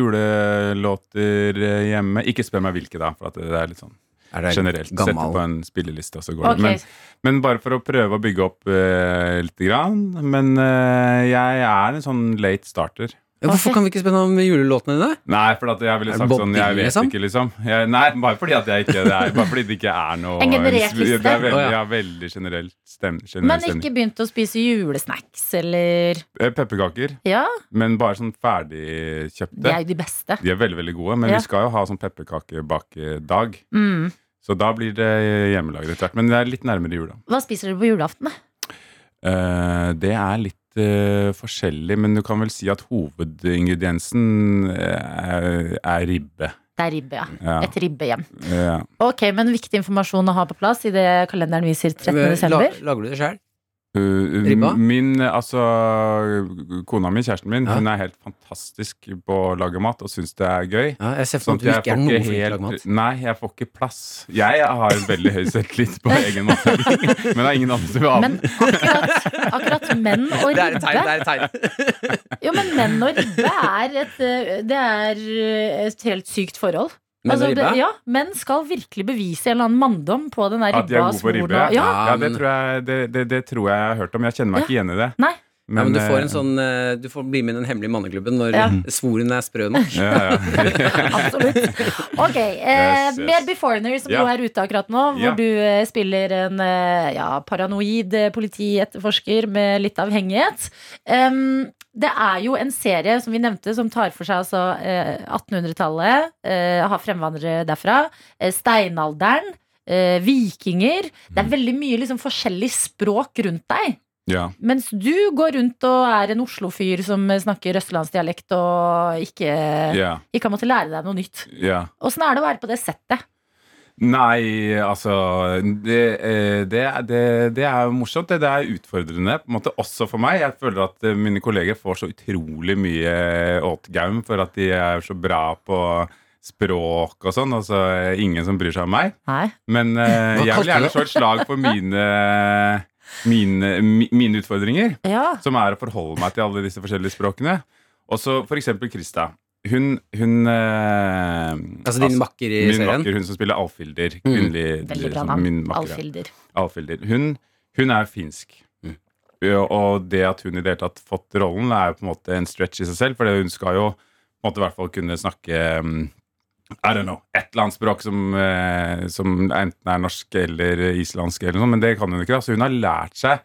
Speaker 6: julelåter eh, hjemme. Ikke spør meg hvilke, da, for at det er litt sånn
Speaker 3: Er det
Speaker 6: generelt. Sette
Speaker 3: Gammel
Speaker 6: på en spilleliste, og så går
Speaker 2: Ok.
Speaker 6: det. Men, Men bare for å prøve å bygge opp uh, litt. Grann. Men eh, jeg er en sånn late starter.
Speaker 3: Ja, Hvorfor kan vi ikke spille om julelåtene dine?
Speaker 6: Nei, for at jeg ville
Speaker 3: Er det
Speaker 6: sagt
Speaker 3: Bob
Speaker 6: sånn Jeg
Speaker 3: Dylan,
Speaker 6: vet
Speaker 3: liksom?
Speaker 6: ikke, liksom. Jeg, nei, bare fordi, at jeg ikke, det er, bare fordi det ikke er noe
Speaker 2: En generert liste?
Speaker 6: Det er veldig,
Speaker 3: Å,
Speaker 6: ja,
Speaker 3: ja.
Speaker 6: veldig generell stem, generell
Speaker 2: Men
Speaker 6: stemning.
Speaker 2: ikke begynt å spise julesnacks, eller
Speaker 6: Eh, Pepperkaker,
Speaker 2: Ja,
Speaker 6: men bare sånn
Speaker 2: de
Speaker 6: ferdigkjøpte.
Speaker 2: er jo de beste.
Speaker 6: De er veldig veldig gode, men
Speaker 2: Ja.
Speaker 6: vi skal jo ha sånn pepperkakebakedag.
Speaker 2: Mm.
Speaker 6: Så da blir det hjemmelagret etter hvert. Men det er litt nærmere jul, da.
Speaker 2: Hva spiser dere på julaften? da?
Speaker 6: Eh, det er litt eh, forskjellig, men du kan vel si at hovedingrediensen eh, er, er ribbe.
Speaker 2: Det er ribbe, ja.
Speaker 6: Ja.
Speaker 2: Et ribbehjem.
Speaker 6: Ja.
Speaker 2: Ok, men viktig informasjon å ha på plass i det kalenderen viser 13. desember.
Speaker 3: Eh, La- Lager du det sjøl?
Speaker 6: Uh, uh,
Speaker 3: Ribba?
Speaker 6: Min, altså Kona mi, kjæresten min,
Speaker 3: Ja.
Speaker 6: hun er helt fantastisk på å lage mat og syns det er gøy.
Speaker 3: Ja, jeg ser for
Speaker 6: Sånn
Speaker 3: meg at
Speaker 6: at
Speaker 3: du ikke er noe flink til å
Speaker 6: helt-
Speaker 3: lage mat.
Speaker 6: Nei, jeg får ikke plass. Jeg har en veldig høy selvtillit på egen matlaging, men det er ingen andre som vil ha den.
Speaker 2: Men akkurat, akkurat menn og
Speaker 3: Det er et tegn.
Speaker 2: ribbe
Speaker 3: det er et tegn
Speaker 2: Jo, men menn og ribbe er et, eh, det er eh, et helt sykt forhold.
Speaker 3: Men
Speaker 2: Altså,
Speaker 3: ribbe?
Speaker 2: det- ja, menn skal virkelig bevise en eller annen manndom på den der
Speaker 6: At de er
Speaker 2: ribba.
Speaker 6: gode på ribbe?
Speaker 2: svola- Ja.
Speaker 6: Ja, det, tror jeg, det, det, det tror jeg jeg har hørt om. Jeg kjenner meg ikke igjen i det.
Speaker 2: Nei.
Speaker 3: Men, ja, men du får
Speaker 6: eh,
Speaker 3: en sånn eh, Du får bli med i den hemmelige manneklubben når
Speaker 2: Ja.
Speaker 3: svoren er sprø nok.
Speaker 6: ja, eh,
Speaker 3: sånn.
Speaker 6: ja.
Speaker 2: Ok, eh,
Speaker 6: Yes, yes.
Speaker 2: Mer Beforener, som
Speaker 6: Ja.
Speaker 2: jo er ute akkurat nå, hvor
Speaker 6: Ja.
Speaker 2: du eh, spiller en eh, ja, paranoid eh, politietterforsker med litt avhengighet. Em, det er jo en serie som vi nevnte, som tar for seg altså, eh, 1800-tallet, eh, har fremvandrere derfra, eh, steinalderen, eh, vikinger. Det
Speaker 6: Mm.
Speaker 2: er veldig mye liksom, forskjellig språk rundt deg.
Speaker 6: ja.
Speaker 2: Mens du går rundt og er en Oslo-fyr som eh, snakker østlandsdialekt og ikke,
Speaker 6: Ja.
Speaker 2: ikke har måttet lære deg noe nytt.
Speaker 6: ja.
Speaker 2: Åssen sånn er det å være på det settet?
Speaker 6: Nei, altså det, eh, det, er- det, det er jo morsomt. Det, det er utfordrende på en måte også for meg. Jeg føler at eh, mine kolleger får så utrolig mye åtgaum for at de er så bra på språk og sånn. Altså eh, ingen som bryr seg om meg.
Speaker 2: Nei.
Speaker 6: Men eh,
Speaker 3: Hva
Speaker 6: jeg vil
Speaker 3: kalte du
Speaker 6: gjerne slå et slag for mine, mine, mi- mine utfordringer.
Speaker 2: Ja.
Speaker 6: Som er å forholde meg til alle disse forskjellige språkene. Og så for eksempel Krista. Hun, hun eh,
Speaker 3: Altså din makker i
Speaker 6: min
Speaker 3: serien? Mm.
Speaker 6: makker, hun som spiller Alfhilder. Kvinnelig
Speaker 2: Veldig bra
Speaker 6: som sånn min
Speaker 2: navn.
Speaker 6: makker, ja.
Speaker 2: Alfhilder.
Speaker 6: Alfhilder. Hun, hun er finsk.
Speaker 3: Mm.
Speaker 6: Ja, Og det at hun i det hele tatt fått rollen, er jo på en måte en stretch i seg selv. For hun skal jo på en måte i hvert fall kunne snakke mm, I don't know, et eller annet språk som, eh, som enten er norsk eller islandsk, eller noe, sånt, men det kan hun ikke. da. Så hun har lært seg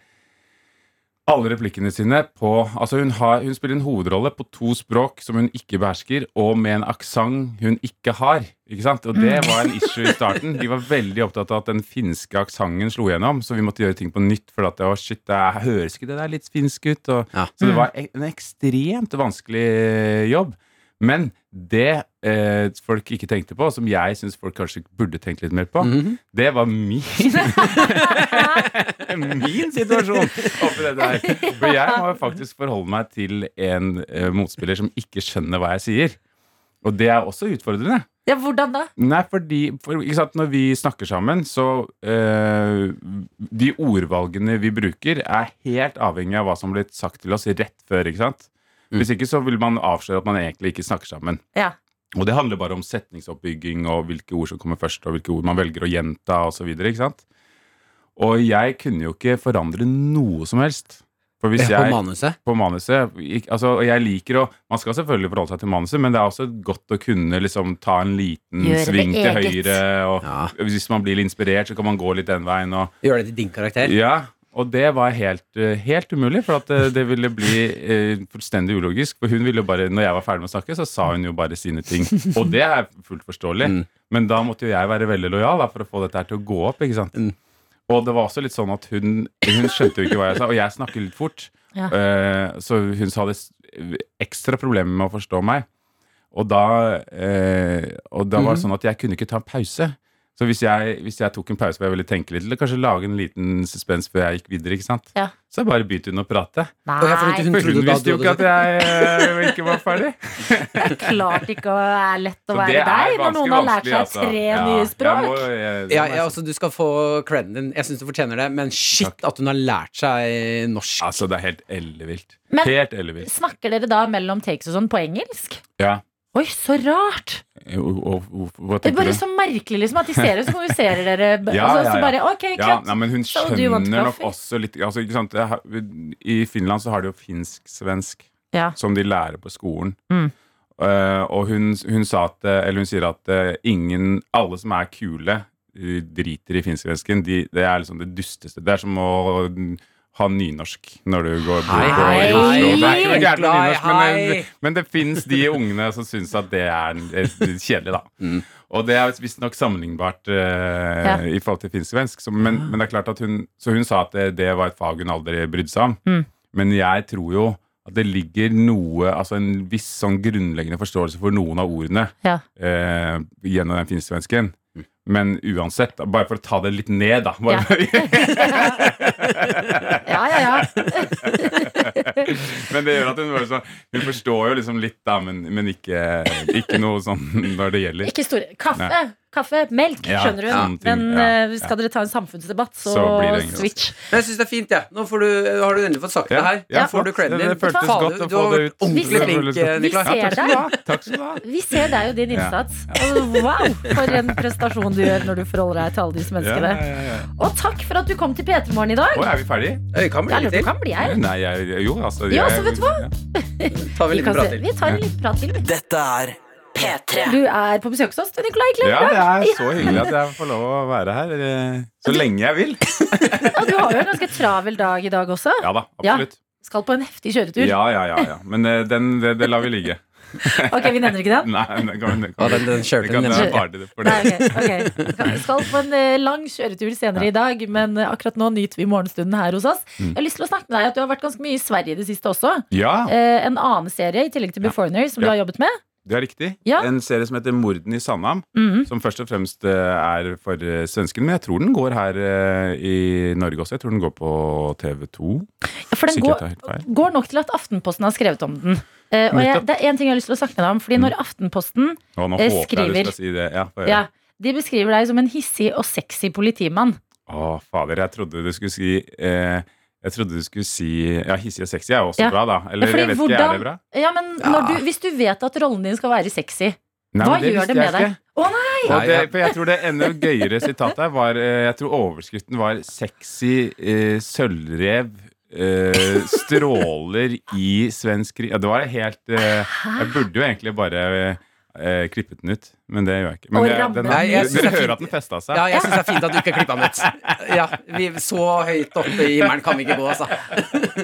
Speaker 6: alle replikkene sine på Altså, hun, har, hun spiller en hovedrolle på to språk som hun ikke behersker, og med en aksent hun ikke har. Ikke sant? Og det var en issue i starten. De var veldig opptatt av at den finske aksenten slo gjennom, så vi måtte gjøre ting på nytt. For at det var shit, det er- høres ikke det der litt finsk ut? Og,
Speaker 3: Ja.
Speaker 6: Så det var ek- en ekstremt vanskelig eh, jobb. Men det eh, folk ikke tenkte på, som jeg syns folk kanskje burde tenkt litt mer på, det var min min situasjon oppi dette her. For jeg må jo faktisk forholde meg til en eh, motspiller som ikke skjønner hva jeg sier. Og det er også utfordrende.
Speaker 2: Ja, hvordan da?
Speaker 6: Nei, fordi for, ikke sant, Når vi snakker sammen, så eh, De ordvalgene vi bruker, er helt avhengig av hva som ble sagt til oss rett før. ikke sant? Hvis ikke så vil man avsløre at man egentlig ikke snakker sammen.
Speaker 2: Ja.
Speaker 6: Og det handler bare om setningsoppbygging og hvilke ord som kommer først, og hvilke ord man velger å gjenta osv. Og jeg kunne jo ikke forandre noe som helst. For hvis
Speaker 3: På
Speaker 6: jeg
Speaker 3: manuset.
Speaker 6: på manuset ikk- altså, og jeg liker å, Man skal selvfølgelig forholde seg til manuset, men det er også godt å kunne liksom, ta en liten
Speaker 2: Gjøre det
Speaker 6: sving til
Speaker 2: eget.
Speaker 6: høyre. Og
Speaker 3: Ja.
Speaker 6: Hvis man blir litt inspirert, så kan man gå litt den veien. Og,
Speaker 3: Gjør det til din karakter.
Speaker 6: ja, og det var helt, eh, helt umulig, for at eh, det ville bli eh, fullstendig ulogisk. For hun ville jo bare, når jeg var ferdig med å snakke, så sa hun jo bare sine ting. Og det er fullt forståelig. Men da måtte jo jeg være veldig lojal da, for å få dette her til å gå opp. ikke sant? Og det var også litt sånn at hun, hun skjønte jo ikke hva jeg sa, og jeg snakker litt fort.
Speaker 2: Ja.
Speaker 6: Eh, så hun sa det s- ekstra problemer med å forstå meg. Og da, eh, og da var det sånn at jeg kunne ikke ta en pause. Så hvis jeg, hvis jeg tok en pause hvor jeg ville tenke litt, eller kanskje lage en liten suspens før jeg gikk videre, ikke sant?
Speaker 2: Ja.
Speaker 6: så bare begynte hun å prate.
Speaker 3: Og jeg får litt
Speaker 2: Nei,
Speaker 3: hun-
Speaker 6: For hun
Speaker 3: trodde da
Speaker 6: visste jo
Speaker 3: du
Speaker 6: ikke
Speaker 3: hadde
Speaker 6: at jeg eh, ikke var ferdig.
Speaker 2: det er klart ikke å er lett å
Speaker 6: Så
Speaker 2: være
Speaker 6: det er
Speaker 2: deg når noen har lært seg
Speaker 6: vanskelig, altså.
Speaker 2: tre
Speaker 6: Ja,
Speaker 2: nye
Speaker 6: jeg
Speaker 2: språk.
Speaker 6: må, eh, det
Speaker 3: Ja,
Speaker 6: må
Speaker 3: jeg, også, du skal få creden din. Jeg syns du fortjener det, men shit
Speaker 6: Takk.
Speaker 3: at hun har lært seg norsk.
Speaker 6: Altså, det er helt ellevilt.
Speaker 2: Men-
Speaker 6: Helt ellevilt.
Speaker 2: Snakker dere da mellom takes og sånn på engelsk?
Speaker 6: Ja.
Speaker 2: Oi, så rart!
Speaker 6: Og- og- og- Hva
Speaker 2: Det er
Speaker 6: tenker
Speaker 2: bare
Speaker 6: du?
Speaker 2: så merkelig liksom, at de ser ut, så kommuniserer dere.
Speaker 6: Ja,
Speaker 2: altså,
Speaker 6: ja,
Speaker 2: Så
Speaker 6: ja.
Speaker 2: bare, ok,
Speaker 6: Ja,
Speaker 2: cut.
Speaker 6: nei, men hun
Speaker 2: So, do you want
Speaker 6: skjønner nok
Speaker 2: coffee?
Speaker 6: også litt altså, ikke sant? det har- I Finland så har de jo finsk-svensk,
Speaker 2: Ja.
Speaker 6: som de lærer på skolen.
Speaker 2: Mm.
Speaker 6: Eh, og hun, hun, sa at, eh, eller hun sier at eh, ingen, alle som er kule, eh, driter i finsk-svensken. De, det er liksom det dusteste. Det er som å mm, ha nynorsk når du går bor
Speaker 3: Hei,
Speaker 6: på i
Speaker 2: hei,
Speaker 6: Oslo. Det er ikke noe
Speaker 3: hei,
Speaker 6: gærent med nynorsk, men,
Speaker 3: hei.
Speaker 6: eh, men det fins de ungene som syns at det er eh, kjedelig, da. Og det er visstnok sammenlignbart eh,
Speaker 2: Ja. Ah.
Speaker 6: i forhold til finsk-svensk. så- Men, men det er klart at hun, så hun sa at det, det var et fag hun aldri brydde seg om.
Speaker 2: Mm.
Speaker 6: Men jeg tror jo at det ligger noe, altså en viss sånn grunnleggende forståelse for noen av ordene
Speaker 2: Ja.
Speaker 6: eh, gjennom den finsk-svensken. Men uansett, da, bare for å ta det litt ned, da. Bare,
Speaker 2: ja, ja, ja.
Speaker 6: men det gjør at hun bare sånn Hun forstår jo liksom litt, da, men, men ikke, ikke noe sånn når det gjelder.
Speaker 2: Ikke store Kaffe! kaffe, melk,
Speaker 6: Ja,
Speaker 2: skjønner du.
Speaker 6: sånne ting,
Speaker 2: Men
Speaker 6: ja,
Speaker 2: eh, skal dere ta en samfunnsdebatt, så,
Speaker 6: Så blir det engelsk.
Speaker 2: switch.
Speaker 3: Men jeg syns det er fint, jeg. Ja. Nå får du, har du endelig fått sagt det
Speaker 6: Ja,
Speaker 3: her.
Speaker 6: ja,
Speaker 3: Nå får du
Speaker 6: flott.
Speaker 3: creden
Speaker 6: Det-
Speaker 3: din.
Speaker 6: det føltes
Speaker 3: Faen, du-
Speaker 6: godt å få det
Speaker 3: Du har vært
Speaker 6: ut.
Speaker 3: ordentlig
Speaker 6: Vi-
Speaker 3: flink, eh,
Speaker 2: Vi
Speaker 3: Nikolai.
Speaker 2: ser deg.
Speaker 6: Takk skal du ha.
Speaker 2: Vi ser deg og din
Speaker 6: Ja.
Speaker 2: innsats. Og Wow, for en prestasjon du gjør når du forholder deg til alle disse
Speaker 6: Ja,
Speaker 2: menneskene.
Speaker 6: ja, ja, ja.
Speaker 2: Og takk for at du kom til P3 Morgen i dag.
Speaker 6: Å, er vi ferdige?
Speaker 3: Øy, kan
Speaker 2: Det er
Speaker 3: bli litt
Speaker 2: lurt du
Speaker 3: til.
Speaker 2: kan bli her.
Speaker 6: Nei, jeg, jo, altså
Speaker 2: Ja, så vet du hva?
Speaker 6: ja.
Speaker 3: Ta en
Speaker 2: Vi,
Speaker 3: liten
Speaker 2: kan
Speaker 3: prat
Speaker 2: se.
Speaker 3: til.
Speaker 2: vi tar en liten prat til. vi.
Speaker 4: Dette er
Speaker 1: P3.
Speaker 2: Du er på besøk hos oss, du, Nicolai Klepp.
Speaker 6: Ja, det er så hyggelig at jeg får lov å være her eh, så lenge jeg vil.
Speaker 2: Og du har jo en ganske travel dag i dag også.
Speaker 6: Ja da,
Speaker 2: Ja.
Speaker 6: absolutt.
Speaker 2: Skal på en heftig kjøretur.
Speaker 6: Ja, ja, ja. ja. Men eh, den, det, det lar vi ligge.
Speaker 2: Ok, vi nevner ikke den?
Speaker 6: Nei, den kan, den
Speaker 3: Ja,
Speaker 6: kan,
Speaker 3: den- den kjørte
Speaker 6: den kan,
Speaker 3: den
Speaker 6: den
Speaker 3: hjemme.
Speaker 6: er farlig for
Speaker 2: Nei,
Speaker 6: det.
Speaker 2: ok, ok. Skal- Skal på en eh, lang kjøretur senere i dag, men eh, akkurat nå nyter vi morgenstunden her hos oss. Jeg har lyst til å snakke med deg at du har vært ganske mye i Sverige i det siste også.
Speaker 6: Mm. Ja,
Speaker 2: Eh, en annen serie i tillegg til Be Foreigners som du
Speaker 6: Ja.
Speaker 2: har jobbet med.
Speaker 6: det er riktig.
Speaker 2: Ja.
Speaker 6: En serie som heter Morden i Sandhamn.
Speaker 2: Mhm.
Speaker 6: Som først og fremst eh, er for eh, svenskene, men jeg tror den går her eh, i Norge også. Jeg tror den går på TV2.
Speaker 2: Ja, For den
Speaker 6: Sikkert
Speaker 2: går,
Speaker 6: tar helt feil.
Speaker 2: går nok til at Aftenposten har skrevet om den. Eh, og jeg,
Speaker 6: Nettopp.
Speaker 2: det er én ting jeg har lyst til å snakke med deg om. Fordi når Aftenposten
Speaker 6: Å,
Speaker 2: Eh,
Speaker 6: nå håper jeg du
Speaker 2: skriver.
Speaker 6: skal si det. Ja, for,
Speaker 2: ja, de beskriver deg som en hissig og sexy politimann.
Speaker 6: Å, fader, jeg trodde du skulle si eh, Jeg trodde du skulle si Ja, hissig og sexy er jo også
Speaker 2: Ja.
Speaker 6: bra, da. Eller
Speaker 2: Ja, fordi
Speaker 6: jeg vet ikke, er
Speaker 2: hvordan-
Speaker 6: det bra?
Speaker 2: Ja, men når du, Hvis du vet at rollen din skal være sexy,
Speaker 6: Nei,
Speaker 2: hva
Speaker 6: men det
Speaker 2: gjør
Speaker 6: visste
Speaker 2: det med
Speaker 6: jeg
Speaker 2: deg?
Speaker 6: ikke.
Speaker 2: Å nei!
Speaker 6: Og
Speaker 3: Nei,
Speaker 6: det,
Speaker 3: jeg-
Speaker 6: for jeg tror det enda gøyere sitatet her var eh, Jeg tror overskriften var 'Sexy eh, sølvrev eh, stråler i svensk krig'. Ja, det var helt eh, Jeg burde jo egentlig bare eh, klippet den ut, men det gjør jeg ikke.
Speaker 2: Og
Speaker 6: Men det,
Speaker 2: rammet
Speaker 6: den,
Speaker 3: Nei, jeg synes
Speaker 6: dere
Speaker 3: det er
Speaker 6: hører
Speaker 3: fint.
Speaker 6: at den festa seg.
Speaker 3: Ja, jeg syns det er fint at du ikke klippa den ut. Ja, vi, så høyt oppe i himmelen kan vi ikke gå, altså.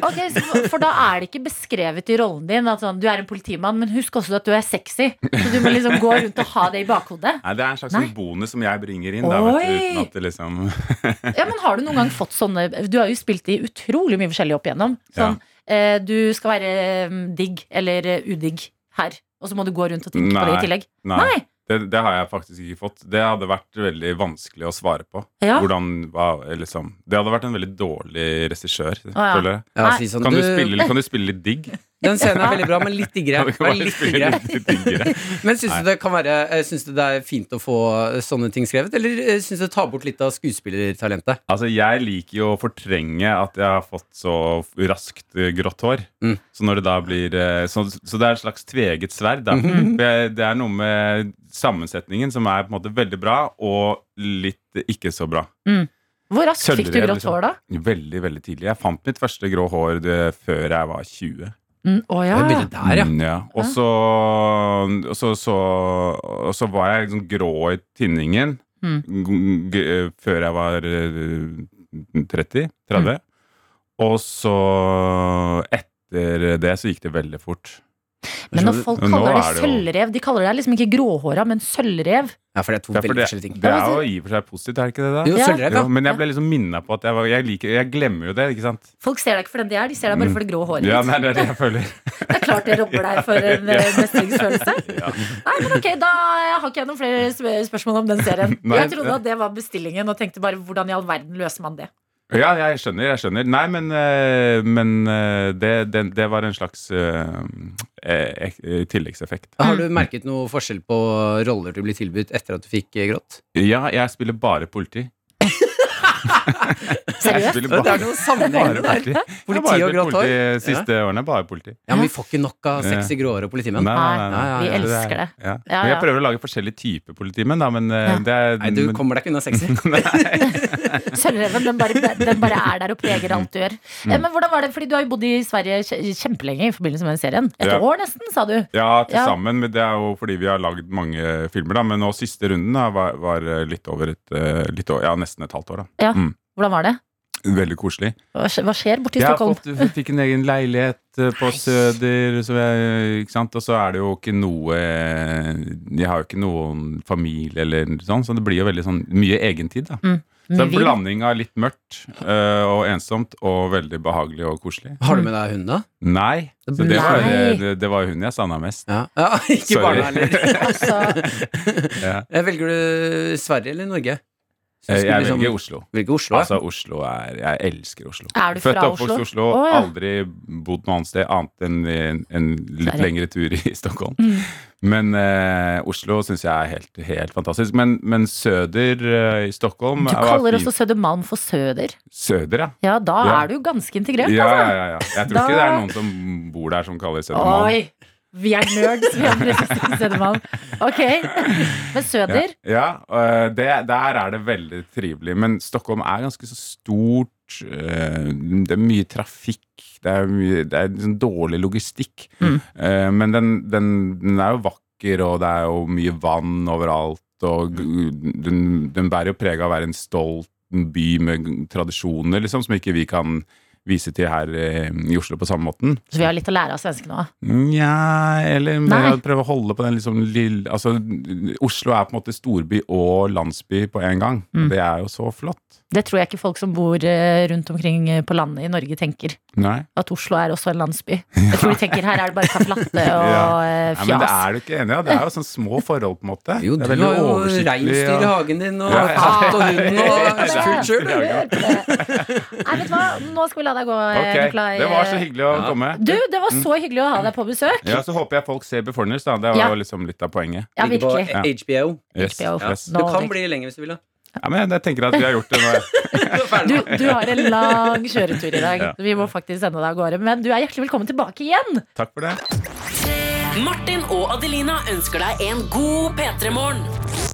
Speaker 2: Ok, så for- For da er det ikke beskrevet i rollen din at sånn, du er en politimann, men husk også at du er sexy. Så du må liksom gå rundt og ha det i bakhodet.
Speaker 6: Nei, Det er en slags sånn
Speaker 2: Nei.
Speaker 6: bonus som jeg bringer inn. Da, vet du,
Speaker 2: Oi!
Speaker 6: uten at det liksom
Speaker 2: Ja, men Har du noen gang fått sånne Du har jo spilt i utrolig mye forskjellig opp igjennom. Sånn eh, du skal være mm, digg eller eh, udigg her, og så må du gå rundt og tenke på det
Speaker 6: Nei.
Speaker 2: i tillegg.
Speaker 6: Nei,
Speaker 2: Nei!
Speaker 6: Det, det har jeg faktisk ikke fått. Det hadde vært veldig vanskelig å svare på.
Speaker 2: Ja.
Speaker 6: Hvordan, hva, liksom, det hadde vært en veldig dårlig regissør.
Speaker 2: ja.
Speaker 6: føler jeg. sånn.
Speaker 3: Sånn
Speaker 6: Kan du, spille, litt- kan du spille litt digg?
Speaker 3: Den scenen er veldig bra, men litt diggere.
Speaker 6: Kan du ikke
Speaker 3: Vær
Speaker 6: bare
Speaker 3: litt
Speaker 6: spille
Speaker 3: diggere.
Speaker 6: litt diggere?
Speaker 3: Men syns du det kan være eh, Syns du det er fint å få eh, sånne ting skrevet, eller eh, syns du det tar bort litt av skuespillertalentet?
Speaker 6: Altså, jeg liker jo å fortrenge at jeg har fått så raskt eh, grått hår.
Speaker 3: Mm.
Speaker 6: Så, når det da blir, eh, så, så det er et slags tveget sverd. Da. For jeg, det er noe med sammensetningen som er på en måte veldig bra, og litt ikke så bra.
Speaker 2: Hvor raskt fikk du
Speaker 6: Sølvrev,
Speaker 2: grått
Speaker 6: liksom.
Speaker 2: hår da?
Speaker 6: Veldig, veldig tidlig. Jeg fant mitt første grå hår eh, før jeg var 20.
Speaker 2: Mm, å ja.
Speaker 3: Det bildet der, ja.
Speaker 6: Mm, ja. Og så, og så, så, og så var jeg liksom grå i tinningen
Speaker 2: Mm.
Speaker 6: g- g- eh, før jeg var eh, 30. 30. Og så etter det så gikk det veldig fort.
Speaker 2: Men når folk
Speaker 6: Nå
Speaker 2: kaller
Speaker 6: er
Speaker 2: det
Speaker 6: det jo-
Speaker 2: sølvrev De kaller deg liksom ikke gråhåra, men sølvrev.
Speaker 3: Ja, for det er to
Speaker 6: Ja, for
Speaker 3: veldig
Speaker 6: det,
Speaker 3: forskjellige ting.
Speaker 6: det er jo i og for seg positivt, er det ikke det? da?
Speaker 3: Jo,
Speaker 2: Ja.
Speaker 3: sølvrev,
Speaker 6: Jo,
Speaker 3: ja.
Speaker 6: men jeg ble liksom minna på at jeg, var, jeg, liker, jeg glemmer jo det, ikke sant?
Speaker 2: Folk ser deg ikke for den de er, de ser deg bare for det grå håret.
Speaker 6: Mm. Ja,
Speaker 2: ditt.
Speaker 6: nei, det er det jeg føler.
Speaker 2: Det er klart det robber deg for en eh, mestringsfølelse. Nei, men ok, Da har ikke jeg noen flere sp- spørsmål om den serien.
Speaker 6: Nei.
Speaker 2: jeg trodde at det var bestillingen, og tenkte bare hvordan i all verden løser man det?
Speaker 6: Ja, jeg skjønner. jeg skjønner Nei, men, eh, men eh, det, det, det var en slags eh, eh, ek- tilleggseffekt.
Speaker 3: Har du merket noe forskjell på roller du ble tilbudt etter at du fikk eh, grått?
Speaker 6: Ja, jeg spiller bare politi. Jeg
Speaker 2: Seriøst?
Speaker 6: spiller
Speaker 3: Det er
Speaker 6: bare,
Speaker 3: noe sammenheng
Speaker 6: bare
Speaker 3: der.
Speaker 6: politi. Jeg har
Speaker 3: Politi
Speaker 6: bare
Speaker 3: og grått
Speaker 6: spilt politi
Speaker 3: hår.
Speaker 6: de siste årene. Bare politi. eh,
Speaker 3: Ja, men vi får ikke nok av sexy gråhår og politimenn. Nei, vi
Speaker 6: er-
Speaker 2: elsker det.
Speaker 6: Ja.
Speaker 2: Ja,
Speaker 6: Men
Speaker 2: ja.
Speaker 6: jeg prøver å lage forskjellige typer politimenn, da, men eh,
Speaker 2: Ja.
Speaker 6: det er
Speaker 3: Nei, du
Speaker 6: men-
Speaker 3: kommer deg ikke unna sexy.
Speaker 2: Sølvreven den bare, den bare er der og preger alt du gjør.
Speaker 6: Mm.
Speaker 2: Eh, Men hvordan var det, fordi Du har jo bodd i Sverige kje- kjempelenge i forbindelse med den serien. Et
Speaker 6: Ja.
Speaker 2: år nesten, sa du.
Speaker 6: Ja, til
Speaker 2: Ja.
Speaker 6: sammen. Men det er jo fordi vi har lagd mange filmer, da. Men nå siste runden da, var, var litt over et eh, litt over, Ja, nesten et halvt år, da.
Speaker 2: Hvordan var det?
Speaker 6: Veldig koselig.
Speaker 2: Hva skj- hva skjer borti
Speaker 6: Jeg har
Speaker 2: Stockholm?
Speaker 6: fått, f- fikk en egen leilighet eh, på Søder, så jeg, ikke sant? og så er det jo ikke noe Jeg har jo ikke noen familie eller sånn, så det blir jo veldig sånn mye egentid, da. Så
Speaker 2: Mye
Speaker 6: en
Speaker 2: vin?
Speaker 6: blanding av litt mørkt eh, og ensomt og veldig behagelig og koselig.
Speaker 3: Har du med deg hunden, da?
Speaker 6: Nei. Så det var, eh,
Speaker 2: Nei.
Speaker 6: det, det var jo hun jeg savna mest.
Speaker 3: Ja, ja Ikke
Speaker 6: Sorry.
Speaker 3: barna heller.
Speaker 2: Altså,
Speaker 6: Ja.
Speaker 3: Eh, Velger du Sverige eller Norge? Så skulle
Speaker 6: jeg
Speaker 3: liksom-
Speaker 6: velger Oslo.
Speaker 3: Velger Oslo, ja.
Speaker 6: altså, Oslo er, jeg elsker Oslo.
Speaker 2: Er du
Speaker 6: Født
Speaker 2: fra
Speaker 6: og oppvokst i
Speaker 2: Oslo?
Speaker 6: Oslo,
Speaker 2: Å, ja.
Speaker 6: aldri bodd noe annet sted annet enn en, en litt
Speaker 2: Sverige. Mm.
Speaker 6: lengre tur i Stockholm. Men eh, Oslo syns jeg er helt, helt fantastisk. Men, men søder eh, i Stockholm
Speaker 2: Du
Speaker 6: er-
Speaker 2: kaller
Speaker 6: var
Speaker 2: også
Speaker 6: fint.
Speaker 2: Sødermalm for Søder.
Speaker 6: Søder, ja.
Speaker 2: Ja, da
Speaker 6: Ja.
Speaker 2: er du jo ganske integrert,
Speaker 6: Ja, ja,
Speaker 2: altså.
Speaker 6: ja, ja. Jeg tror
Speaker 2: Da-
Speaker 6: ikke det er noen som bor der som kaller Sødermalm.
Speaker 2: Oi! Vi er nerds, vi andre som sier Sødermalm. Ok. Men Søder
Speaker 6: Ja, øh, det, der er det veldig trivelig. Men Stockholm er ganske så stort. øh, Det er mye trafikk. Det er, mye, det er liksom dårlig logistikk. Eh, Men den, den, den er jo vakker, og det er jo mye vann overalt. Og g- den, den bærer jo preg av å være en stolt by med g- tradisjoner, liksom, som ikke vi kan vise til her eh, i Oslo på samme måten.
Speaker 2: Så vi har litt å lære av svenskene òg.
Speaker 6: Nja, eller
Speaker 2: Nei.
Speaker 6: mer å prøve å holde på den liksom lille Altså, Oslo er på en måte storby og landsby på en gang.
Speaker 2: Mm.
Speaker 6: Det er jo så flott.
Speaker 2: Det tror jeg ikke folk som bor eh, rundt omkring eh, på landet i Norge tenker.
Speaker 6: Nei.
Speaker 2: At Oslo er også en landsby. Jeg tror de tenker her er det bare caffè latte og eh,
Speaker 6: Nei, men det
Speaker 2: fjas.
Speaker 6: er du ikke enig i? Det er jo sånn små forhold, på en måte.
Speaker 3: Jo, du
Speaker 6: det er
Speaker 3: har
Speaker 6: veldig
Speaker 3: jo
Speaker 6: oversiktlig,
Speaker 3: reinsdyr i
Speaker 6: og-
Speaker 3: hagen din, og
Speaker 6: Ja, ja.
Speaker 3: katt og hund og
Speaker 2: Ja, ja.
Speaker 3: fullt kjør, du.
Speaker 2: Nei, vet du hva, nå skal vi la deg gå, eh,
Speaker 6: Ok,
Speaker 2: Nikolai.
Speaker 6: Det var så hyggelig å
Speaker 3: Ja.
Speaker 6: komme.
Speaker 2: Du, det var så hyggelig å ha deg på besøk.
Speaker 6: Ja, Så håper jeg folk ser Beforeigners, da. Det var
Speaker 2: Ja.
Speaker 6: jo liksom litt av poenget.
Speaker 2: Ja,
Speaker 3: Ligger
Speaker 2: virkelig.
Speaker 3: På HBO.
Speaker 6: Yes,
Speaker 2: HBO.
Speaker 3: Ja.
Speaker 6: yes.
Speaker 3: Du
Speaker 2: Nå-
Speaker 3: kan bli lenger hvis du vil, da.
Speaker 6: Ja, men jeg tenker at vi har gjort det nå.
Speaker 2: Du, du har en lang kjøretur i dag.
Speaker 6: Ja.
Speaker 2: Vi må faktisk sende deg av gårde. Men du er hjertelig velkommen tilbake igjen.
Speaker 6: Takk for det.
Speaker 5: Martin og Adelina ønsker deg en god P3-morgen.
Speaker 4: P3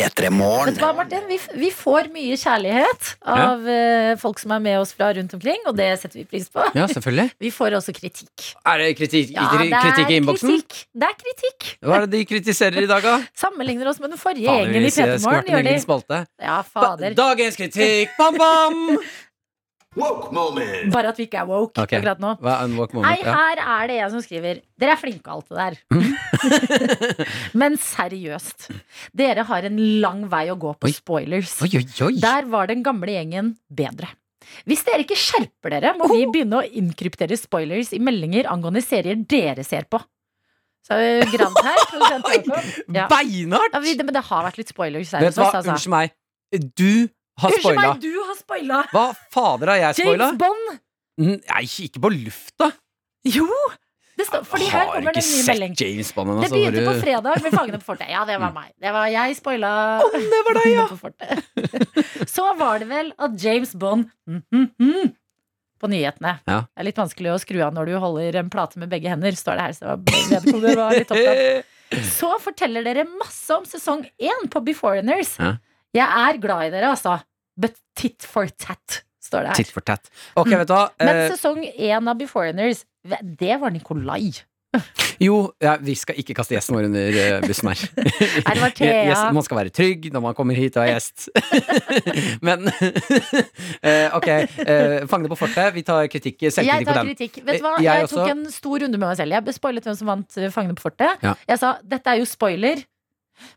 Speaker 2: Vet du
Speaker 4: Morgen.
Speaker 2: hva, Martin? Vi, f- vi får mye kjærlighet av eh, folk som er med oss fra rundt omkring, og det setter vi pris på.
Speaker 3: Ja, selvfølgelig.
Speaker 2: Vi får også kritikk.
Speaker 3: Er det kritikk,
Speaker 2: Ja, det er
Speaker 3: kritikk i innboksen?
Speaker 2: kritikk. Det er kritikk.
Speaker 3: Hva er det de kritiserer i dag, da?
Speaker 2: Sammenligner oss med den forrige
Speaker 3: Fader,
Speaker 2: gjengen i
Speaker 3: de
Speaker 2: P3morgen,
Speaker 3: skurker en
Speaker 2: gjør de.
Speaker 3: egen spalte.
Speaker 2: Ja,
Speaker 3: Ba-
Speaker 2: fader.
Speaker 3: Dagens kritikk, bam, bam!
Speaker 9: Woke moment.
Speaker 2: Bare at vi ikke er woke
Speaker 3: Ok.
Speaker 2: akkurat nå.
Speaker 3: Hva er unwalk
Speaker 2: Nei,
Speaker 3: moment? Ja.
Speaker 2: her er det jeg som skriver. Dere er flinke av alt det der. Men seriøst. Dere har en lang vei å gå på
Speaker 3: Oi.
Speaker 2: spoilers.
Speaker 3: Oi, oi, oi.
Speaker 2: Der var den gamle gjengen bedre. Hvis dere ikke skjerper dere, må
Speaker 3: Oh.
Speaker 2: vi begynne å inkryptere spoilers i meldinger angående serier dere ser på. Så eh, Grand her, produsent Jakob. Ja.
Speaker 3: Beinhardt!
Speaker 2: Ja, vi- det- men det har vært litt spoilers her
Speaker 3: Vet
Speaker 2: hos
Speaker 3: du hva,
Speaker 2: oss, altså.
Speaker 3: unnskyld meg. Du har
Speaker 2: Unnskyld
Speaker 3: spoila.
Speaker 2: meg, du har spoila!
Speaker 3: Hva fader har jeg spoila?
Speaker 2: James Bond!
Speaker 3: Nei, ikke på lufta.
Speaker 2: Jo! Det står, fordi her
Speaker 3: har
Speaker 2: kommer det
Speaker 3: ikke
Speaker 2: en ny
Speaker 3: sett
Speaker 2: melding.
Speaker 3: James Bond altså, ennå,
Speaker 2: Det
Speaker 3: så får
Speaker 2: begynte på
Speaker 3: du-
Speaker 2: fredag med Fangene på fortet. Ja, det var meg. Det var jeg spoila. det var deg, ja. Så var det vel at James Bond mm, mm, mm, på nyhetene.
Speaker 3: Ja.
Speaker 2: Det er litt vanskelig å skru av når du holder en plate med begge hender, står det her. Så det var, vedkommende var litt opptatt. Så forteller dere masse om sesong én på Beforeigners.
Speaker 3: Ja.
Speaker 2: Jeg er glad i dere, altså. But tit for tat, står det her.
Speaker 3: Titt for tatt. Ok, vet du hva.
Speaker 2: Mm. Men
Speaker 3: Eh,
Speaker 2: sesong én av Beforeigners, det var Nikolai.
Speaker 3: jo, ja, vi skal ikke kaste gjesten vår under eh, bussen her.
Speaker 2: Nei, det var
Speaker 3: Yes,
Speaker 2: Thea.
Speaker 3: man skal være trygg når man kommer hit og er gjest. Men eh, ok, eh, fangene på fortet. Vi tar kritikk,
Speaker 2: Jeg
Speaker 3: selvkritikk på
Speaker 2: tar
Speaker 3: den.
Speaker 2: kritikk. Vet du hva?
Speaker 3: Eh,
Speaker 2: Jeg,
Speaker 3: jeg
Speaker 2: tok
Speaker 3: også.
Speaker 2: en stor runde med meg selv. Jeg spoilet hvem som vant eh, Fangene på fortet.
Speaker 3: Ja.
Speaker 2: Jeg sa dette er jo spoiler,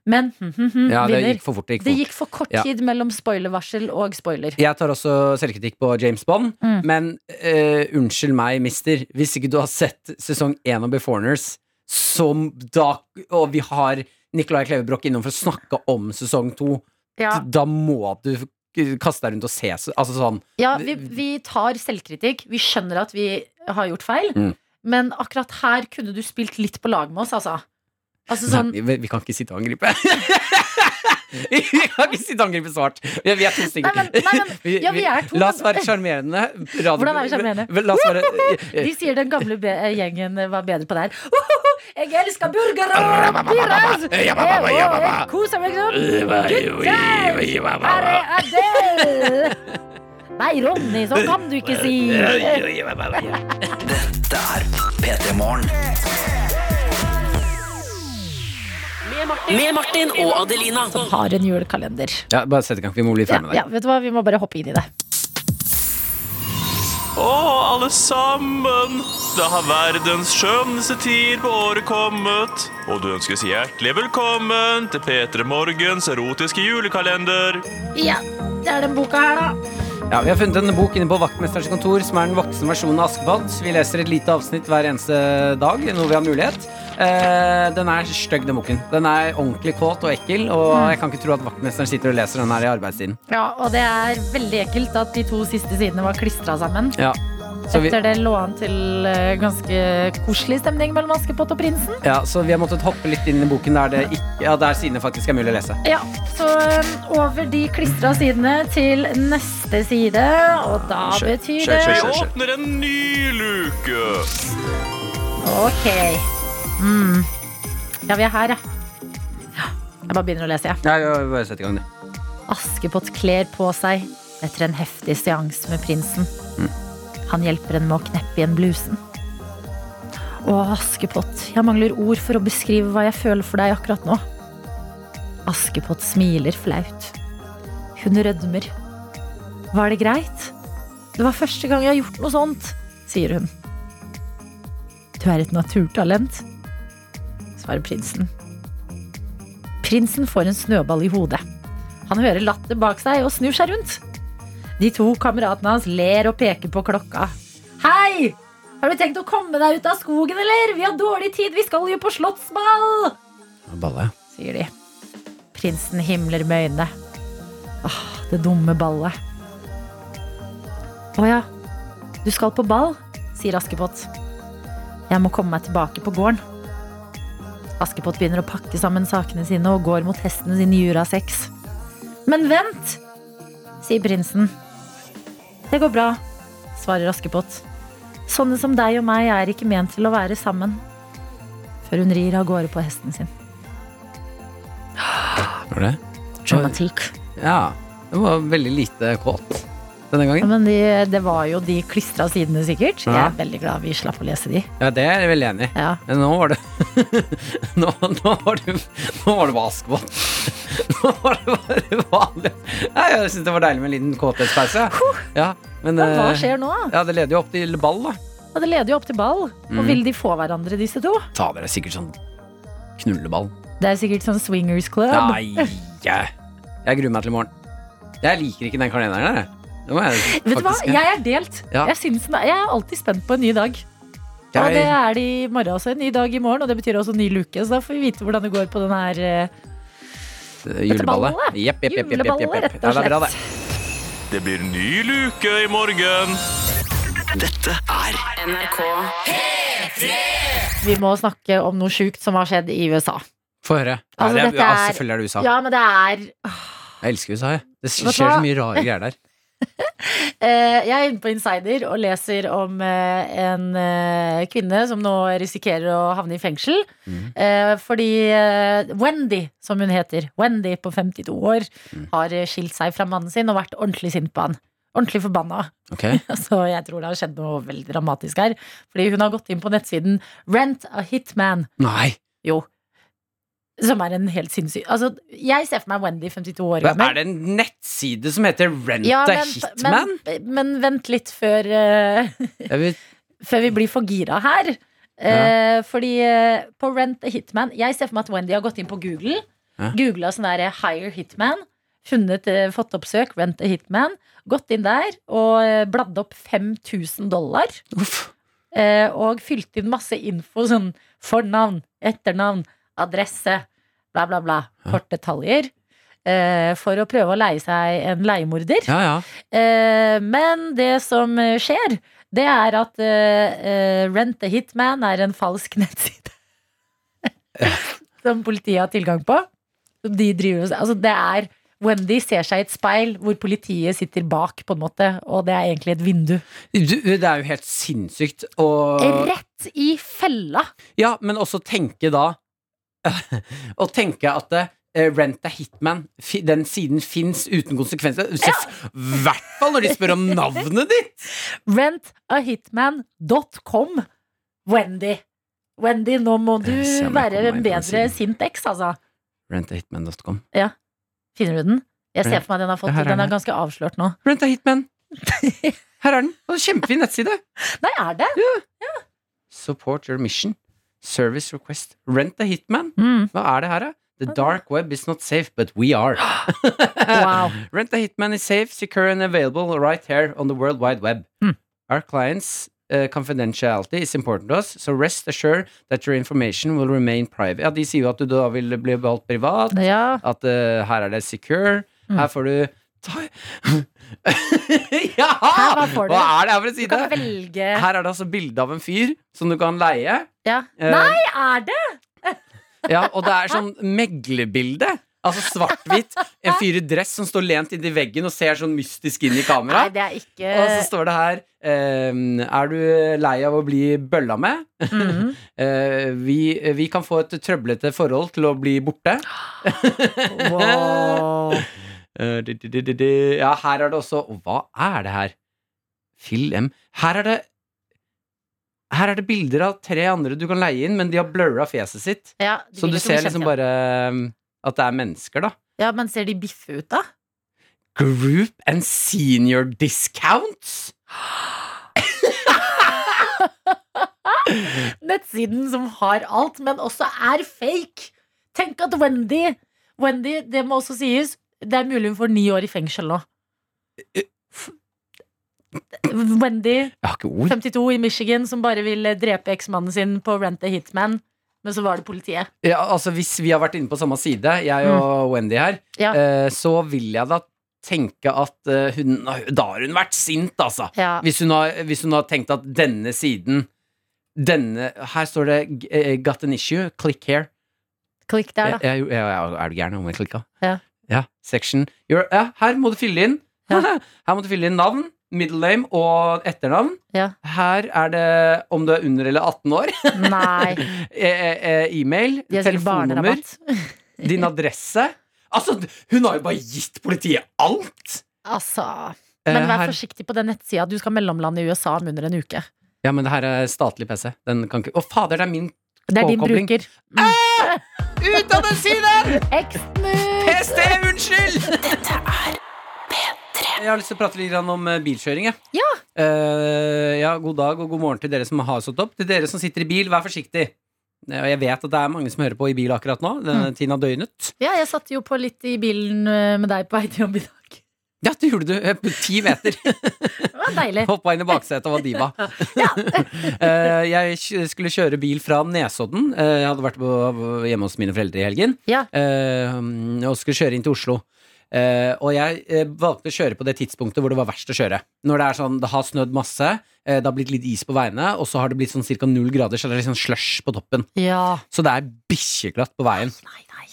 Speaker 2: men hm, hm, hm,
Speaker 3: Ja, det
Speaker 2: vinner.
Speaker 3: gikk for fort. Det gikk
Speaker 2: det
Speaker 3: for fort.
Speaker 2: gikk for kort
Speaker 3: Ja.
Speaker 2: tid mellom spoilervarsel og spoiler.
Speaker 3: Jeg tar også selvkritikk på James Bond,
Speaker 2: Mm.
Speaker 3: men eh, unnskyld meg, mister. Hvis ikke du har sett sesong én av Beforeigners, som da Og vi har Nicolai Klevebrok innom for å snakke om sesong to,
Speaker 2: Ja,
Speaker 3: da må du kaste deg rundt og se. Altså sånn
Speaker 2: vi, vi tar selvkritikk. Vi skjønner at vi har gjort feil,
Speaker 3: Mm.
Speaker 2: men akkurat her kunne du spilt litt på lag med oss, altså. Altså sånn
Speaker 3: Nei, vi, vi kan ikke sitte og angripe. vi kan ikke sitte og angripe svart. Vi, vi er to stykker.
Speaker 2: Nei, men- nei, men-
Speaker 3: Vi-
Speaker 2: ja, vi
Speaker 3: vi-
Speaker 2: er to,
Speaker 3: La oss
Speaker 2: men-
Speaker 3: være sjarmerende. Radio-
Speaker 2: Hvordan er vi sjarmerende?
Speaker 3: Vel, La oss være
Speaker 2: De sier den gamle be eh, gjengen var bedre på det her. «Uhuhu, Jeg elsker burgere! Piraus! Jeg også Koser meg sånn!
Speaker 3: Eh,
Speaker 2: Gutter! Her er Adele! Nei, Ronny, sånn kan du ikke si!
Speaker 4: Dette er P3 Morgen.
Speaker 5: Med Martin og Adelina.
Speaker 2: Har en julekalender.
Speaker 3: ja, Bare sett i gang, vi må bli
Speaker 2: Ja,
Speaker 3: ferdig med det.
Speaker 2: ja, vet du hva, vi må bare hoppe inn i det.
Speaker 11: Å, alle sammen! Da har verdens skjønneste tid på året kommet. Og du ønskes hjertelig velkommen til P3 Morgens erotiske julekalender.
Speaker 2: Ja, det er den boka her, da.
Speaker 3: Ja, vi har funnet en bok inne på Vaktmesterens kontor som er den voksne versjonen av Askepott. Vi leser et lite avsnitt hver eneste dag når vi har mulighet. Eh, den er stygg, den boken. Den er ordentlig kåt og ekkel, og
Speaker 2: Mm.
Speaker 3: jeg kan ikke tro at vaktmesteren sitter og leser den her i arbeidstiden.
Speaker 2: Ja, og det er veldig ekkelt at de to siste sidene var klistra sammen.
Speaker 3: Ja. Så vi,
Speaker 2: Etter det lå an til eh, ganske koselig stemning mellom Askepott og prinsen.
Speaker 3: ja, så vi har måttet hoppe litt inn i boken der, det ikke, ja, der sidene faktisk er mulig å lese.
Speaker 2: Ja, så eh, over de klistra sidene til neste side, og da
Speaker 11: Skjø-
Speaker 2: betyr
Speaker 11: skjø-
Speaker 2: det
Speaker 11: skjø- skjø- Vi åpner en ny luke.
Speaker 2: Ok. Mm. Ja, vi er her, ja. Ja, Jeg bare begynner å lese, jeg.
Speaker 3: Ja, ja, bare sett i gang, du.
Speaker 2: Askepott kler på seg etter en heftig seans med prinsen.
Speaker 3: Mm.
Speaker 2: Han hjelper henne med å kneppe igjen blusen. Å, Askepott, jeg mangler ord for å beskrive hva jeg føler for deg akkurat nå. Askepott smiler flaut. Hun rødmer. Var det greit? Det var første gang jeg har gjort noe sånt, sier hun. Du er et naturtalent, svarer prinsen. Prinsen får en snøball i hodet. Han hører latter bak seg og snur seg rundt. De to kameratene hans ler og peker på klokka. Hei! Har du tenkt å komme deg ut av skogen, eller? Vi har dårlig tid, vi skal jo på slottsball!
Speaker 3: Balle.
Speaker 2: sier de. Prinsen himler med øynene. Åh, det dumme ballet. Å ja, du skal på ball, sier Askepott. Jeg må komme meg tilbake på gården. Askepott begynner å pakke sammen sakene sine og går mot hesten sin i Jura 6. Men vent, sier prinsen. Det går bra, svarer Askepott. Sånne som deg og meg er ikke ment til å være sammen. Før hun rir av gårde på hesten sin.
Speaker 3: Var det?
Speaker 2: Dramatikk.
Speaker 3: Ja. Den var veldig lite kåt denne
Speaker 2: Ja,
Speaker 3: gangen.
Speaker 2: men de, det var jo de klistra sidene, sikkert. Jeg
Speaker 3: Ja.
Speaker 2: er veldig glad vi slapp å lese de.
Speaker 3: Ja, det er jeg veldig enig i.
Speaker 2: Ja.
Speaker 3: Men Eh, nå var det Nå, nå var det Nå var det bare Askepott. Nå var det bare vanlig. Nei, jeg syns det var deilig med en liten kåthetspause. Ja, men
Speaker 2: Men hva
Speaker 3: eh,
Speaker 2: skjer nå? da?
Speaker 3: Ja, det leder jo opp til ball, da.
Speaker 2: Ja, det leder jo opp til ball.
Speaker 3: Mm.
Speaker 2: Og vil de få hverandre, disse to?
Speaker 3: Ta dere sikkert sånn knulleball.
Speaker 2: Det er sikkert sånn swingers club.
Speaker 3: Nei, jeg jeg gruer meg til i morgen. Jeg liker ikke den kalenderen der. jeg. Det må jeg
Speaker 2: Vet du hva,
Speaker 3: faktisk-
Speaker 2: jeg er delt.
Speaker 3: Ja.
Speaker 2: Jeg, syns den er, jeg er alltid spent på en ny dag. Og
Speaker 3: Jeg-
Speaker 2: det er det i morgen også. En ny dag i morgen, og det betyr også en ny luke. Så da får vi vite hvordan det går på den her eh,
Speaker 3: Eh, Juleballet.
Speaker 2: ballet.
Speaker 3: Jepp, jepp, jepp. jepp, jepp,
Speaker 2: Juleballet,
Speaker 3: jepp, jepp.
Speaker 2: rett og
Speaker 3: Ja, det er bra, det.
Speaker 11: Det blir ny luke i morgen.
Speaker 4: Dette er
Speaker 5: NRK
Speaker 2: Vi må snakke om noe sjukt som har skjedd i USA.
Speaker 3: Få høre. Ja,
Speaker 2: Altså,
Speaker 3: det er,
Speaker 2: dette
Speaker 3: ja,
Speaker 2: er-
Speaker 3: selvfølgelig er det USA.
Speaker 2: Ja, men det er
Speaker 3: Jeg elsker USA, jeg. Det
Speaker 2: Vet
Speaker 3: skjer
Speaker 2: du
Speaker 3: så
Speaker 2: hva?
Speaker 3: mye rare greier der.
Speaker 2: Eh, Jeg er inne på Insider og leser om eh, en eh, kvinne som nå risikerer å havne i fengsel.
Speaker 3: Mm.
Speaker 2: Eh, Fordi eh, Wendy, som hun heter, Wendy på 52 år,
Speaker 3: Mm.
Speaker 2: har eh, skilt seg fra mannen sin og vært ordentlig sint på han. Ordentlig forbanna.
Speaker 3: Ok,
Speaker 2: Så jeg tror det har skjedd noe veldig dramatisk her. Fordi hun har gått inn på nettsiden Rent a Hitman.
Speaker 3: Nei!
Speaker 2: Jo. Som er en helt sinnssyk Altså, jeg ser for meg Wendy, 52 år
Speaker 3: Men
Speaker 2: gammel.
Speaker 3: er det en nettside som heter Rent
Speaker 2: Ja,
Speaker 3: a Hitman?
Speaker 2: Men, men vent litt før, eh,
Speaker 3: Jeg vil,
Speaker 2: før vi blir for gira her. Eh, Fordi eh, på Rent a Hitman Jeg ser for meg at Wendy har gått inn på Google.
Speaker 3: Ja.
Speaker 2: Googla sånn der eh, Hire Hitman. Funnet, eh, fått opp søk, Rent a Hitman. Gått inn der og eh, bladd opp 5000 dollar. Eh, og fylte inn masse info sånn fornavn, etternavn, adresse, bla, bla, bla. Kort detaljer. Eh, for å prøve å leie seg en leiemorder.
Speaker 3: ja, ja.
Speaker 2: Eh, men det som eh, skjer, det er at eh, eh, Rent a Hitman er en falsk nettside. som politiet har tilgang på. Som De driver, altså det er Wendy ser seg i et speil hvor politiet sitter bak, på en måte, og det er egentlig et vindu.
Speaker 3: Du, det er jo helt sinnssykt å
Speaker 2: Rett i fella!
Speaker 3: Ja, men også tenke da Å tenke at eh, Rent a Hitman, fi- den siden fins uten konsekvenser. I hvert fall når de spør om navnet ditt!
Speaker 2: Rentahitman.com. Wendy. Wendy, nå må du
Speaker 3: Jeg ser om jeg
Speaker 2: være
Speaker 3: kommer meg
Speaker 2: en
Speaker 3: inn på den
Speaker 2: bedre
Speaker 3: siden.
Speaker 2: sint eks, altså.
Speaker 3: Rentahitman.com.
Speaker 2: Finner du den? Jeg ser
Speaker 3: Ja.
Speaker 2: for meg den har fått
Speaker 3: Her er
Speaker 2: Den
Speaker 3: den.
Speaker 2: er ganske avslørt nå.
Speaker 3: Rent a Hitman. Her er den. Og Kjempefin nettside.
Speaker 2: Nei, er det?
Speaker 3: Support your mission. Service request. Rent a Hitman.
Speaker 2: Mm.
Speaker 3: Hva er det her, da? The dark web is not safe, but we are.
Speaker 2: Wow.
Speaker 3: Rent a Hitman is safe, secure and available right here on the world wide web.
Speaker 2: Mm.
Speaker 3: Our clients uh, eh, confidentiality is important to us, so rest assured that your information will remain private. Ja, De sier jo at du da vil bli beholdt privat,
Speaker 2: Ja.
Speaker 3: at eh, her er det secure,
Speaker 2: Hmm.
Speaker 3: her får du ta... ja!
Speaker 2: Her, hva får du?
Speaker 3: er det her for en
Speaker 2: Du
Speaker 3: side?
Speaker 2: kan velge
Speaker 3: Her er det altså bilde av en fyr som du kan leie.
Speaker 2: ja.
Speaker 3: Eh,
Speaker 2: Nei, er det?
Speaker 3: Ja, og det er sånn meglebilde. Altså svart-hvitt. En fyr i dress som står lent inntil veggen og ser sånn mystisk inn i
Speaker 2: Nei,
Speaker 3: kamera.
Speaker 2: det er ikke
Speaker 3: Og så står det her ehm, Er du lei av å bli bølla med?
Speaker 2: Mm.
Speaker 3: Eh, vi, vi kan få et trøblete forhold til å bli borte.
Speaker 2: wow.
Speaker 3: Eh, di, di, di, di, di. Ja, her er det også og Hva er det her? Film Her er det Her er det bilder av tre andre du kan leie inn, men de har blurra fjeset sitt.
Speaker 2: ja, det
Speaker 3: Så du
Speaker 2: blir ikke noe
Speaker 3: ser liksom
Speaker 2: kjent igjen.
Speaker 3: bare um, at det er mennesker, da.
Speaker 2: Ja, men ser de biffe ut, da?
Speaker 3: Group and senior discounts?
Speaker 2: Nettsiden som har alt, men også er fake. Tenk at Wendy Wendy, det må også sies, det er mulig hun får ni år i fengsel nå. Wendy,
Speaker 3: Jeg har ikke ord.
Speaker 2: 52 i Michigan, som bare ville drepe eksmannen sin på Rent a Hitman, men så var det politiet.
Speaker 3: Ja, altså Hvis vi har vært inne på samme side, jeg og Wendy her,
Speaker 2: Mm. Ja.
Speaker 3: eh, så vil jeg da tenke at eh, hun Da har hun vært sint, altså.
Speaker 2: Ja.
Speaker 3: Hvis, hun har, hvis hun har tenkt at denne siden denne, Her står det eh, 'got an issue', click here.
Speaker 2: Klikk der, da.
Speaker 3: Jeg, jeg, jeg, er du gæren om jeg klikka?
Speaker 2: Ja.
Speaker 3: ja section. You're, ja, her må du fylle inn. her må du fylle inn navn, middle name og etternavn.
Speaker 2: Ja.
Speaker 3: Her er det om du er under eller 18 år.
Speaker 2: Nei.
Speaker 3: E e e e-mail,
Speaker 2: De har sikkert
Speaker 3: telefonnummer,
Speaker 2: barnerabatt.
Speaker 3: din adresse. Altså, hun har jo bare gitt politiet alt!
Speaker 2: Altså.
Speaker 3: Eh,
Speaker 2: Men vær
Speaker 3: her-
Speaker 2: forsiktig på den nettsida. Du skal mellomlande i USA om under en uke.
Speaker 3: Ja, men det her er statlig PC. Den kan ikke Å, fader, det er min
Speaker 2: Det er din
Speaker 3: påkobling.
Speaker 2: bruker.
Speaker 3: Ut av den siden!
Speaker 2: Eksmut!
Speaker 3: PST, unnskyld! Jeg har lyst til å prate litt grann om eh, bilkjøring. jeg.
Speaker 2: Ja.
Speaker 3: Eh, ja, god dag og god morgen til dere som har stått opp. Til dere som sitter i bil, vær forsiktig. Eh, Og jeg vet at det er mange som hører på i bil akkurat nå. Denne tiden av døgnet.
Speaker 2: Ja, jeg satt jo på litt i bilen eh, med deg på vei til jobb i dag.
Speaker 3: Ja, det gjorde du. eh, På ti meter.
Speaker 2: Det var deilig.
Speaker 3: Hoppa inn i baksetet og var diva. Eh, jeg kj- skulle kjøre bil fra Nesodden. Eh, jeg hadde vært på, hjemme hos mine foreldre i helgen.
Speaker 2: Ja.
Speaker 3: eh, og skulle kjøre inn til Oslo. Eh, og jeg eh, valgte å kjøre på det tidspunktet hvor det var verst å kjøre. Når det er sånn, det har snødd masse, eh, det har blitt litt is på veiene, og så har det blitt sånn ca. null grader, så det er litt sånn slush på toppen.
Speaker 2: Ja.
Speaker 3: Så det er bikkjeglatt på veien.
Speaker 2: Nei, nei.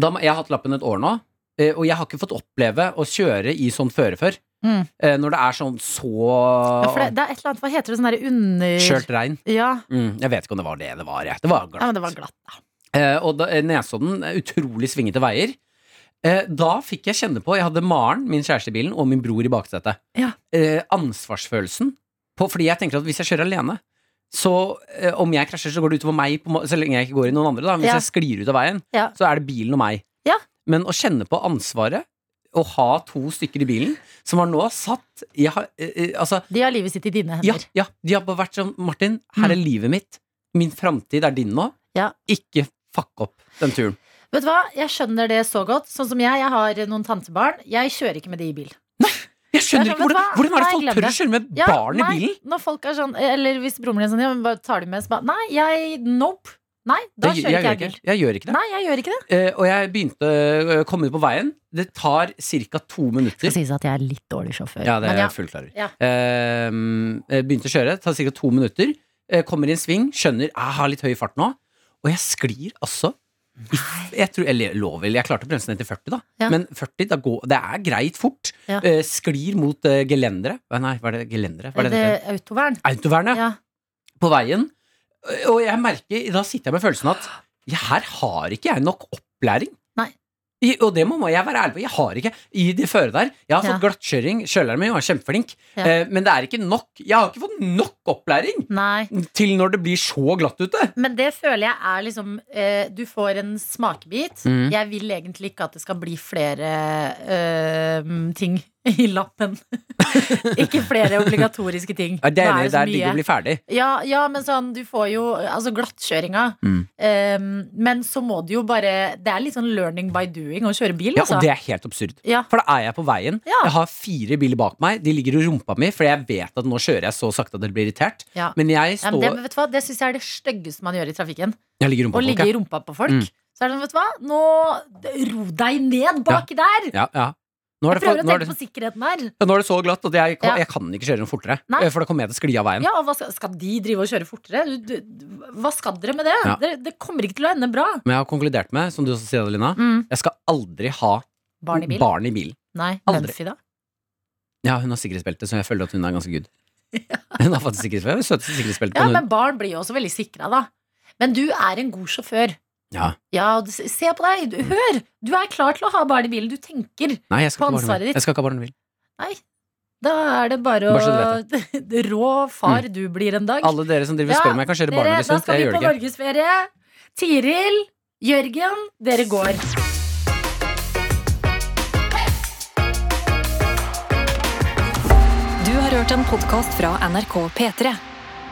Speaker 3: Da, må- jeg har hatt lappen et år nå, eh, og jeg har ikke fått oppleve å kjøre i sånn føre før.
Speaker 2: Mm.
Speaker 3: Eh, når det er sånn så
Speaker 2: Ja, for det, det er et eller annet, hva heter det, sånn derre under...
Speaker 3: kjølt regn.
Speaker 2: Ja.
Speaker 3: Mm, jeg vet ikke om det var det det var. Jeg. Det var glatt.
Speaker 2: ja, men det var glatt, da.
Speaker 3: Eh, og da, eh, Nesodden, eh, utrolig svingete veier. Eh, da fikk jeg kjenne på Jeg hadde Maren, min kjæreste i bilen, og min bror i baksetet.
Speaker 2: Ja.
Speaker 3: Eh, ansvarsfølelsen. På, fordi jeg tenker at hvis jeg kjører alene, så eh, om jeg krasjer, så går det utover meg, på, ma- så lenge jeg ikke går i noen andre. Da. Men hvis
Speaker 2: Ja.
Speaker 3: jeg sklir ut av veien,
Speaker 2: Ja.
Speaker 3: så er det bilen og meg.
Speaker 2: Ja.
Speaker 3: Men å kjenne på ansvaret, å ha to stykker i bilen, som har nå satt jeg har, eh, eh, Altså,
Speaker 2: De har livet sitt i dine
Speaker 3: ja,
Speaker 2: hender.
Speaker 3: ja, de har bare vært sånn Martin, her er livet mitt. Min framtid er din nå.
Speaker 2: Mm. Ja.
Speaker 3: Ikke fuck opp den turen.
Speaker 2: Vet du hva, jeg skjønner det så godt. Sånn som jeg, jeg har noen tantebarn. Jeg kjører ikke med de i bil.
Speaker 3: Jeg skjønner
Speaker 2: Jeg
Speaker 3: ikke
Speaker 2: skjønner
Speaker 3: hvordan,
Speaker 2: hva-
Speaker 3: hvordan er det
Speaker 2: nei,
Speaker 3: folk
Speaker 2: glem
Speaker 3: tør å
Speaker 2: det.
Speaker 3: kjøre med et
Speaker 2: Ja,
Speaker 3: barn i
Speaker 2: nei,
Speaker 3: bilen?
Speaker 2: Når folk er sånn, eller hvis broren min er sånn, ja, men bare tar de med så bare, Nei, jeg, nope. Nei, da
Speaker 3: Det-
Speaker 2: kjører ikke
Speaker 3: gjør
Speaker 2: jeg bil.
Speaker 3: Jeg gjør ikke det.
Speaker 2: Nei, jeg gjør ikke det.
Speaker 3: Eh, og jeg begynte eh, å komme ut på veien. Det tar ca. to
Speaker 2: Det
Speaker 3: minutter.
Speaker 2: sies at jeg er litt dårlig sjåfør.
Speaker 3: Ja, det
Speaker 2: men
Speaker 3: er
Speaker 2: ja.
Speaker 3: jeg fullt klar over.
Speaker 2: Ja.
Speaker 3: Eh, jeg begynte å kjøre, det tar ca. to minutter. Eh, kommer i en sving, skjønner jeg har litt høy fart nå. Og jeg sklir altså. i f- Jeg tror, eller jeg lå vel, jeg klarte å bremse ned til 40, da.
Speaker 2: Ja.
Speaker 3: Men 40, da går, det er greit fort.
Speaker 2: Ja.
Speaker 3: Eh, sklir mot eh, gelenderet. Hva- Nei, var det gelenderet? Hva er
Speaker 2: Er
Speaker 3: det det
Speaker 2: Eh, det
Speaker 3: heter?
Speaker 2: autovern?
Speaker 3: Autovernet.
Speaker 2: Ja.
Speaker 3: på veien. Og jeg merker, da sitter jeg med følelsen at ja, her har ikke jeg nok opplæring.
Speaker 2: Nei.
Speaker 3: I, og det må må jeg være ærlig på. Jeg har ikke i det føret der. Jeg har fått
Speaker 2: Ja.
Speaker 3: glattkjøring. Kjøleren min var kjempeflink.
Speaker 2: Ja.
Speaker 3: Eh, men det er ikke nok. Jeg har ikke fått nok opplæring
Speaker 2: Nei.
Speaker 3: til når det blir så glatt ute.
Speaker 2: Men det føler jeg er liksom eh, Du får en smakebit.
Speaker 3: Mhm.
Speaker 2: Jeg vil egentlig ikke at det skal bli flere eh, ting i lappen. ikke flere obligatoriske ting.
Speaker 3: Ja, det er
Speaker 2: Nå
Speaker 3: enig,
Speaker 2: så
Speaker 3: det er digg
Speaker 2: mye.
Speaker 3: å bli ferdig.
Speaker 2: Ja, ja, men sånn, du får jo Altså, glattkjøringa.
Speaker 3: Mm.
Speaker 2: Ehm, men så må du jo bare Det er litt sånn learning by doing å kjøre bil,
Speaker 3: Ja,
Speaker 2: altså.
Speaker 3: og det er helt absurd.
Speaker 2: Ja.
Speaker 3: For da er jeg på veien.
Speaker 2: Ja.
Speaker 3: Jeg har fire biler bak meg. De ligger i rumpa mi, for jeg vet at nå kjører jeg så sakte at dere blir irritert.
Speaker 2: Ja.
Speaker 3: Men jeg
Speaker 2: Ja, men det,
Speaker 3: står
Speaker 2: vet du hva? Det syns jeg er det styggeste man gjør i trafikken.
Speaker 3: Jeg ligger i rumpa på
Speaker 2: Å
Speaker 3: folk,
Speaker 2: ligge i
Speaker 3: ja.
Speaker 2: rumpa på folk.
Speaker 3: Mm.
Speaker 2: Så er det sånn, vet du hva, nå ro deg ned baki der!
Speaker 3: Ja, ja. Nå er
Speaker 2: Jeg
Speaker 3: det, for,
Speaker 2: prøver å
Speaker 3: nå er
Speaker 2: tenke
Speaker 3: det,
Speaker 2: på sikkerheten her.
Speaker 3: ja, nå er det så glatt at jeg,
Speaker 2: Ja.
Speaker 3: jeg kan ikke kjøre noe fortere. Eh,
Speaker 2: Nei.
Speaker 3: For da kommer jeg til å skli av veien.
Speaker 2: Ja, og hva skal, skal de drive og kjøre fortere? Du- du- Hva skal dere med det?
Speaker 3: Ja.
Speaker 2: Dere- Det, kommer ikke til å ende bra.
Speaker 3: Men jeg har konkludert med, som du også sier, Adelina,
Speaker 2: Mm.
Speaker 3: jeg skal aldri ha
Speaker 2: Barn i bil.
Speaker 3: barn i bilen.
Speaker 2: Nei,
Speaker 3: Aldri.
Speaker 2: Mumphy, da.
Speaker 3: Ja, hun har sikkerhetsbelte, så jeg føler at hun er ganske good. Hun har faktisk sikkerhetsbelte. Hun er Søteste sikkerhetsbelte
Speaker 2: Ja,
Speaker 3: på
Speaker 2: men
Speaker 3: noen.
Speaker 2: barn blir jo også veldig sikra, da. Men du er en god sjåfør.
Speaker 3: Ja.
Speaker 2: Ja, og du- se på deg, du- hør! Du er klar til å ha barn i bilen. Du tenker
Speaker 3: Nei, jeg skal,
Speaker 2: på
Speaker 3: ikke ha barn i
Speaker 2: ansvaret
Speaker 3: bil.
Speaker 2: ditt.
Speaker 3: jeg skal ikke ha barn i bil.
Speaker 2: Nei. Da er det bare å
Speaker 3: Bare
Speaker 2: Rå far du blir en dag.
Speaker 3: Mm. Alle dere som driver og
Speaker 2: Ja,
Speaker 3: spør om jeg kan kjøre
Speaker 2: dere,
Speaker 3: barna deres
Speaker 2: Da
Speaker 3: rundt,
Speaker 2: skal
Speaker 3: jeg
Speaker 2: vi
Speaker 3: gjør
Speaker 2: på
Speaker 3: det ikke.
Speaker 2: norgesferie. Tiril, Jørgen, dere går.
Speaker 1: Du har hørt en podkast fra NRK P3.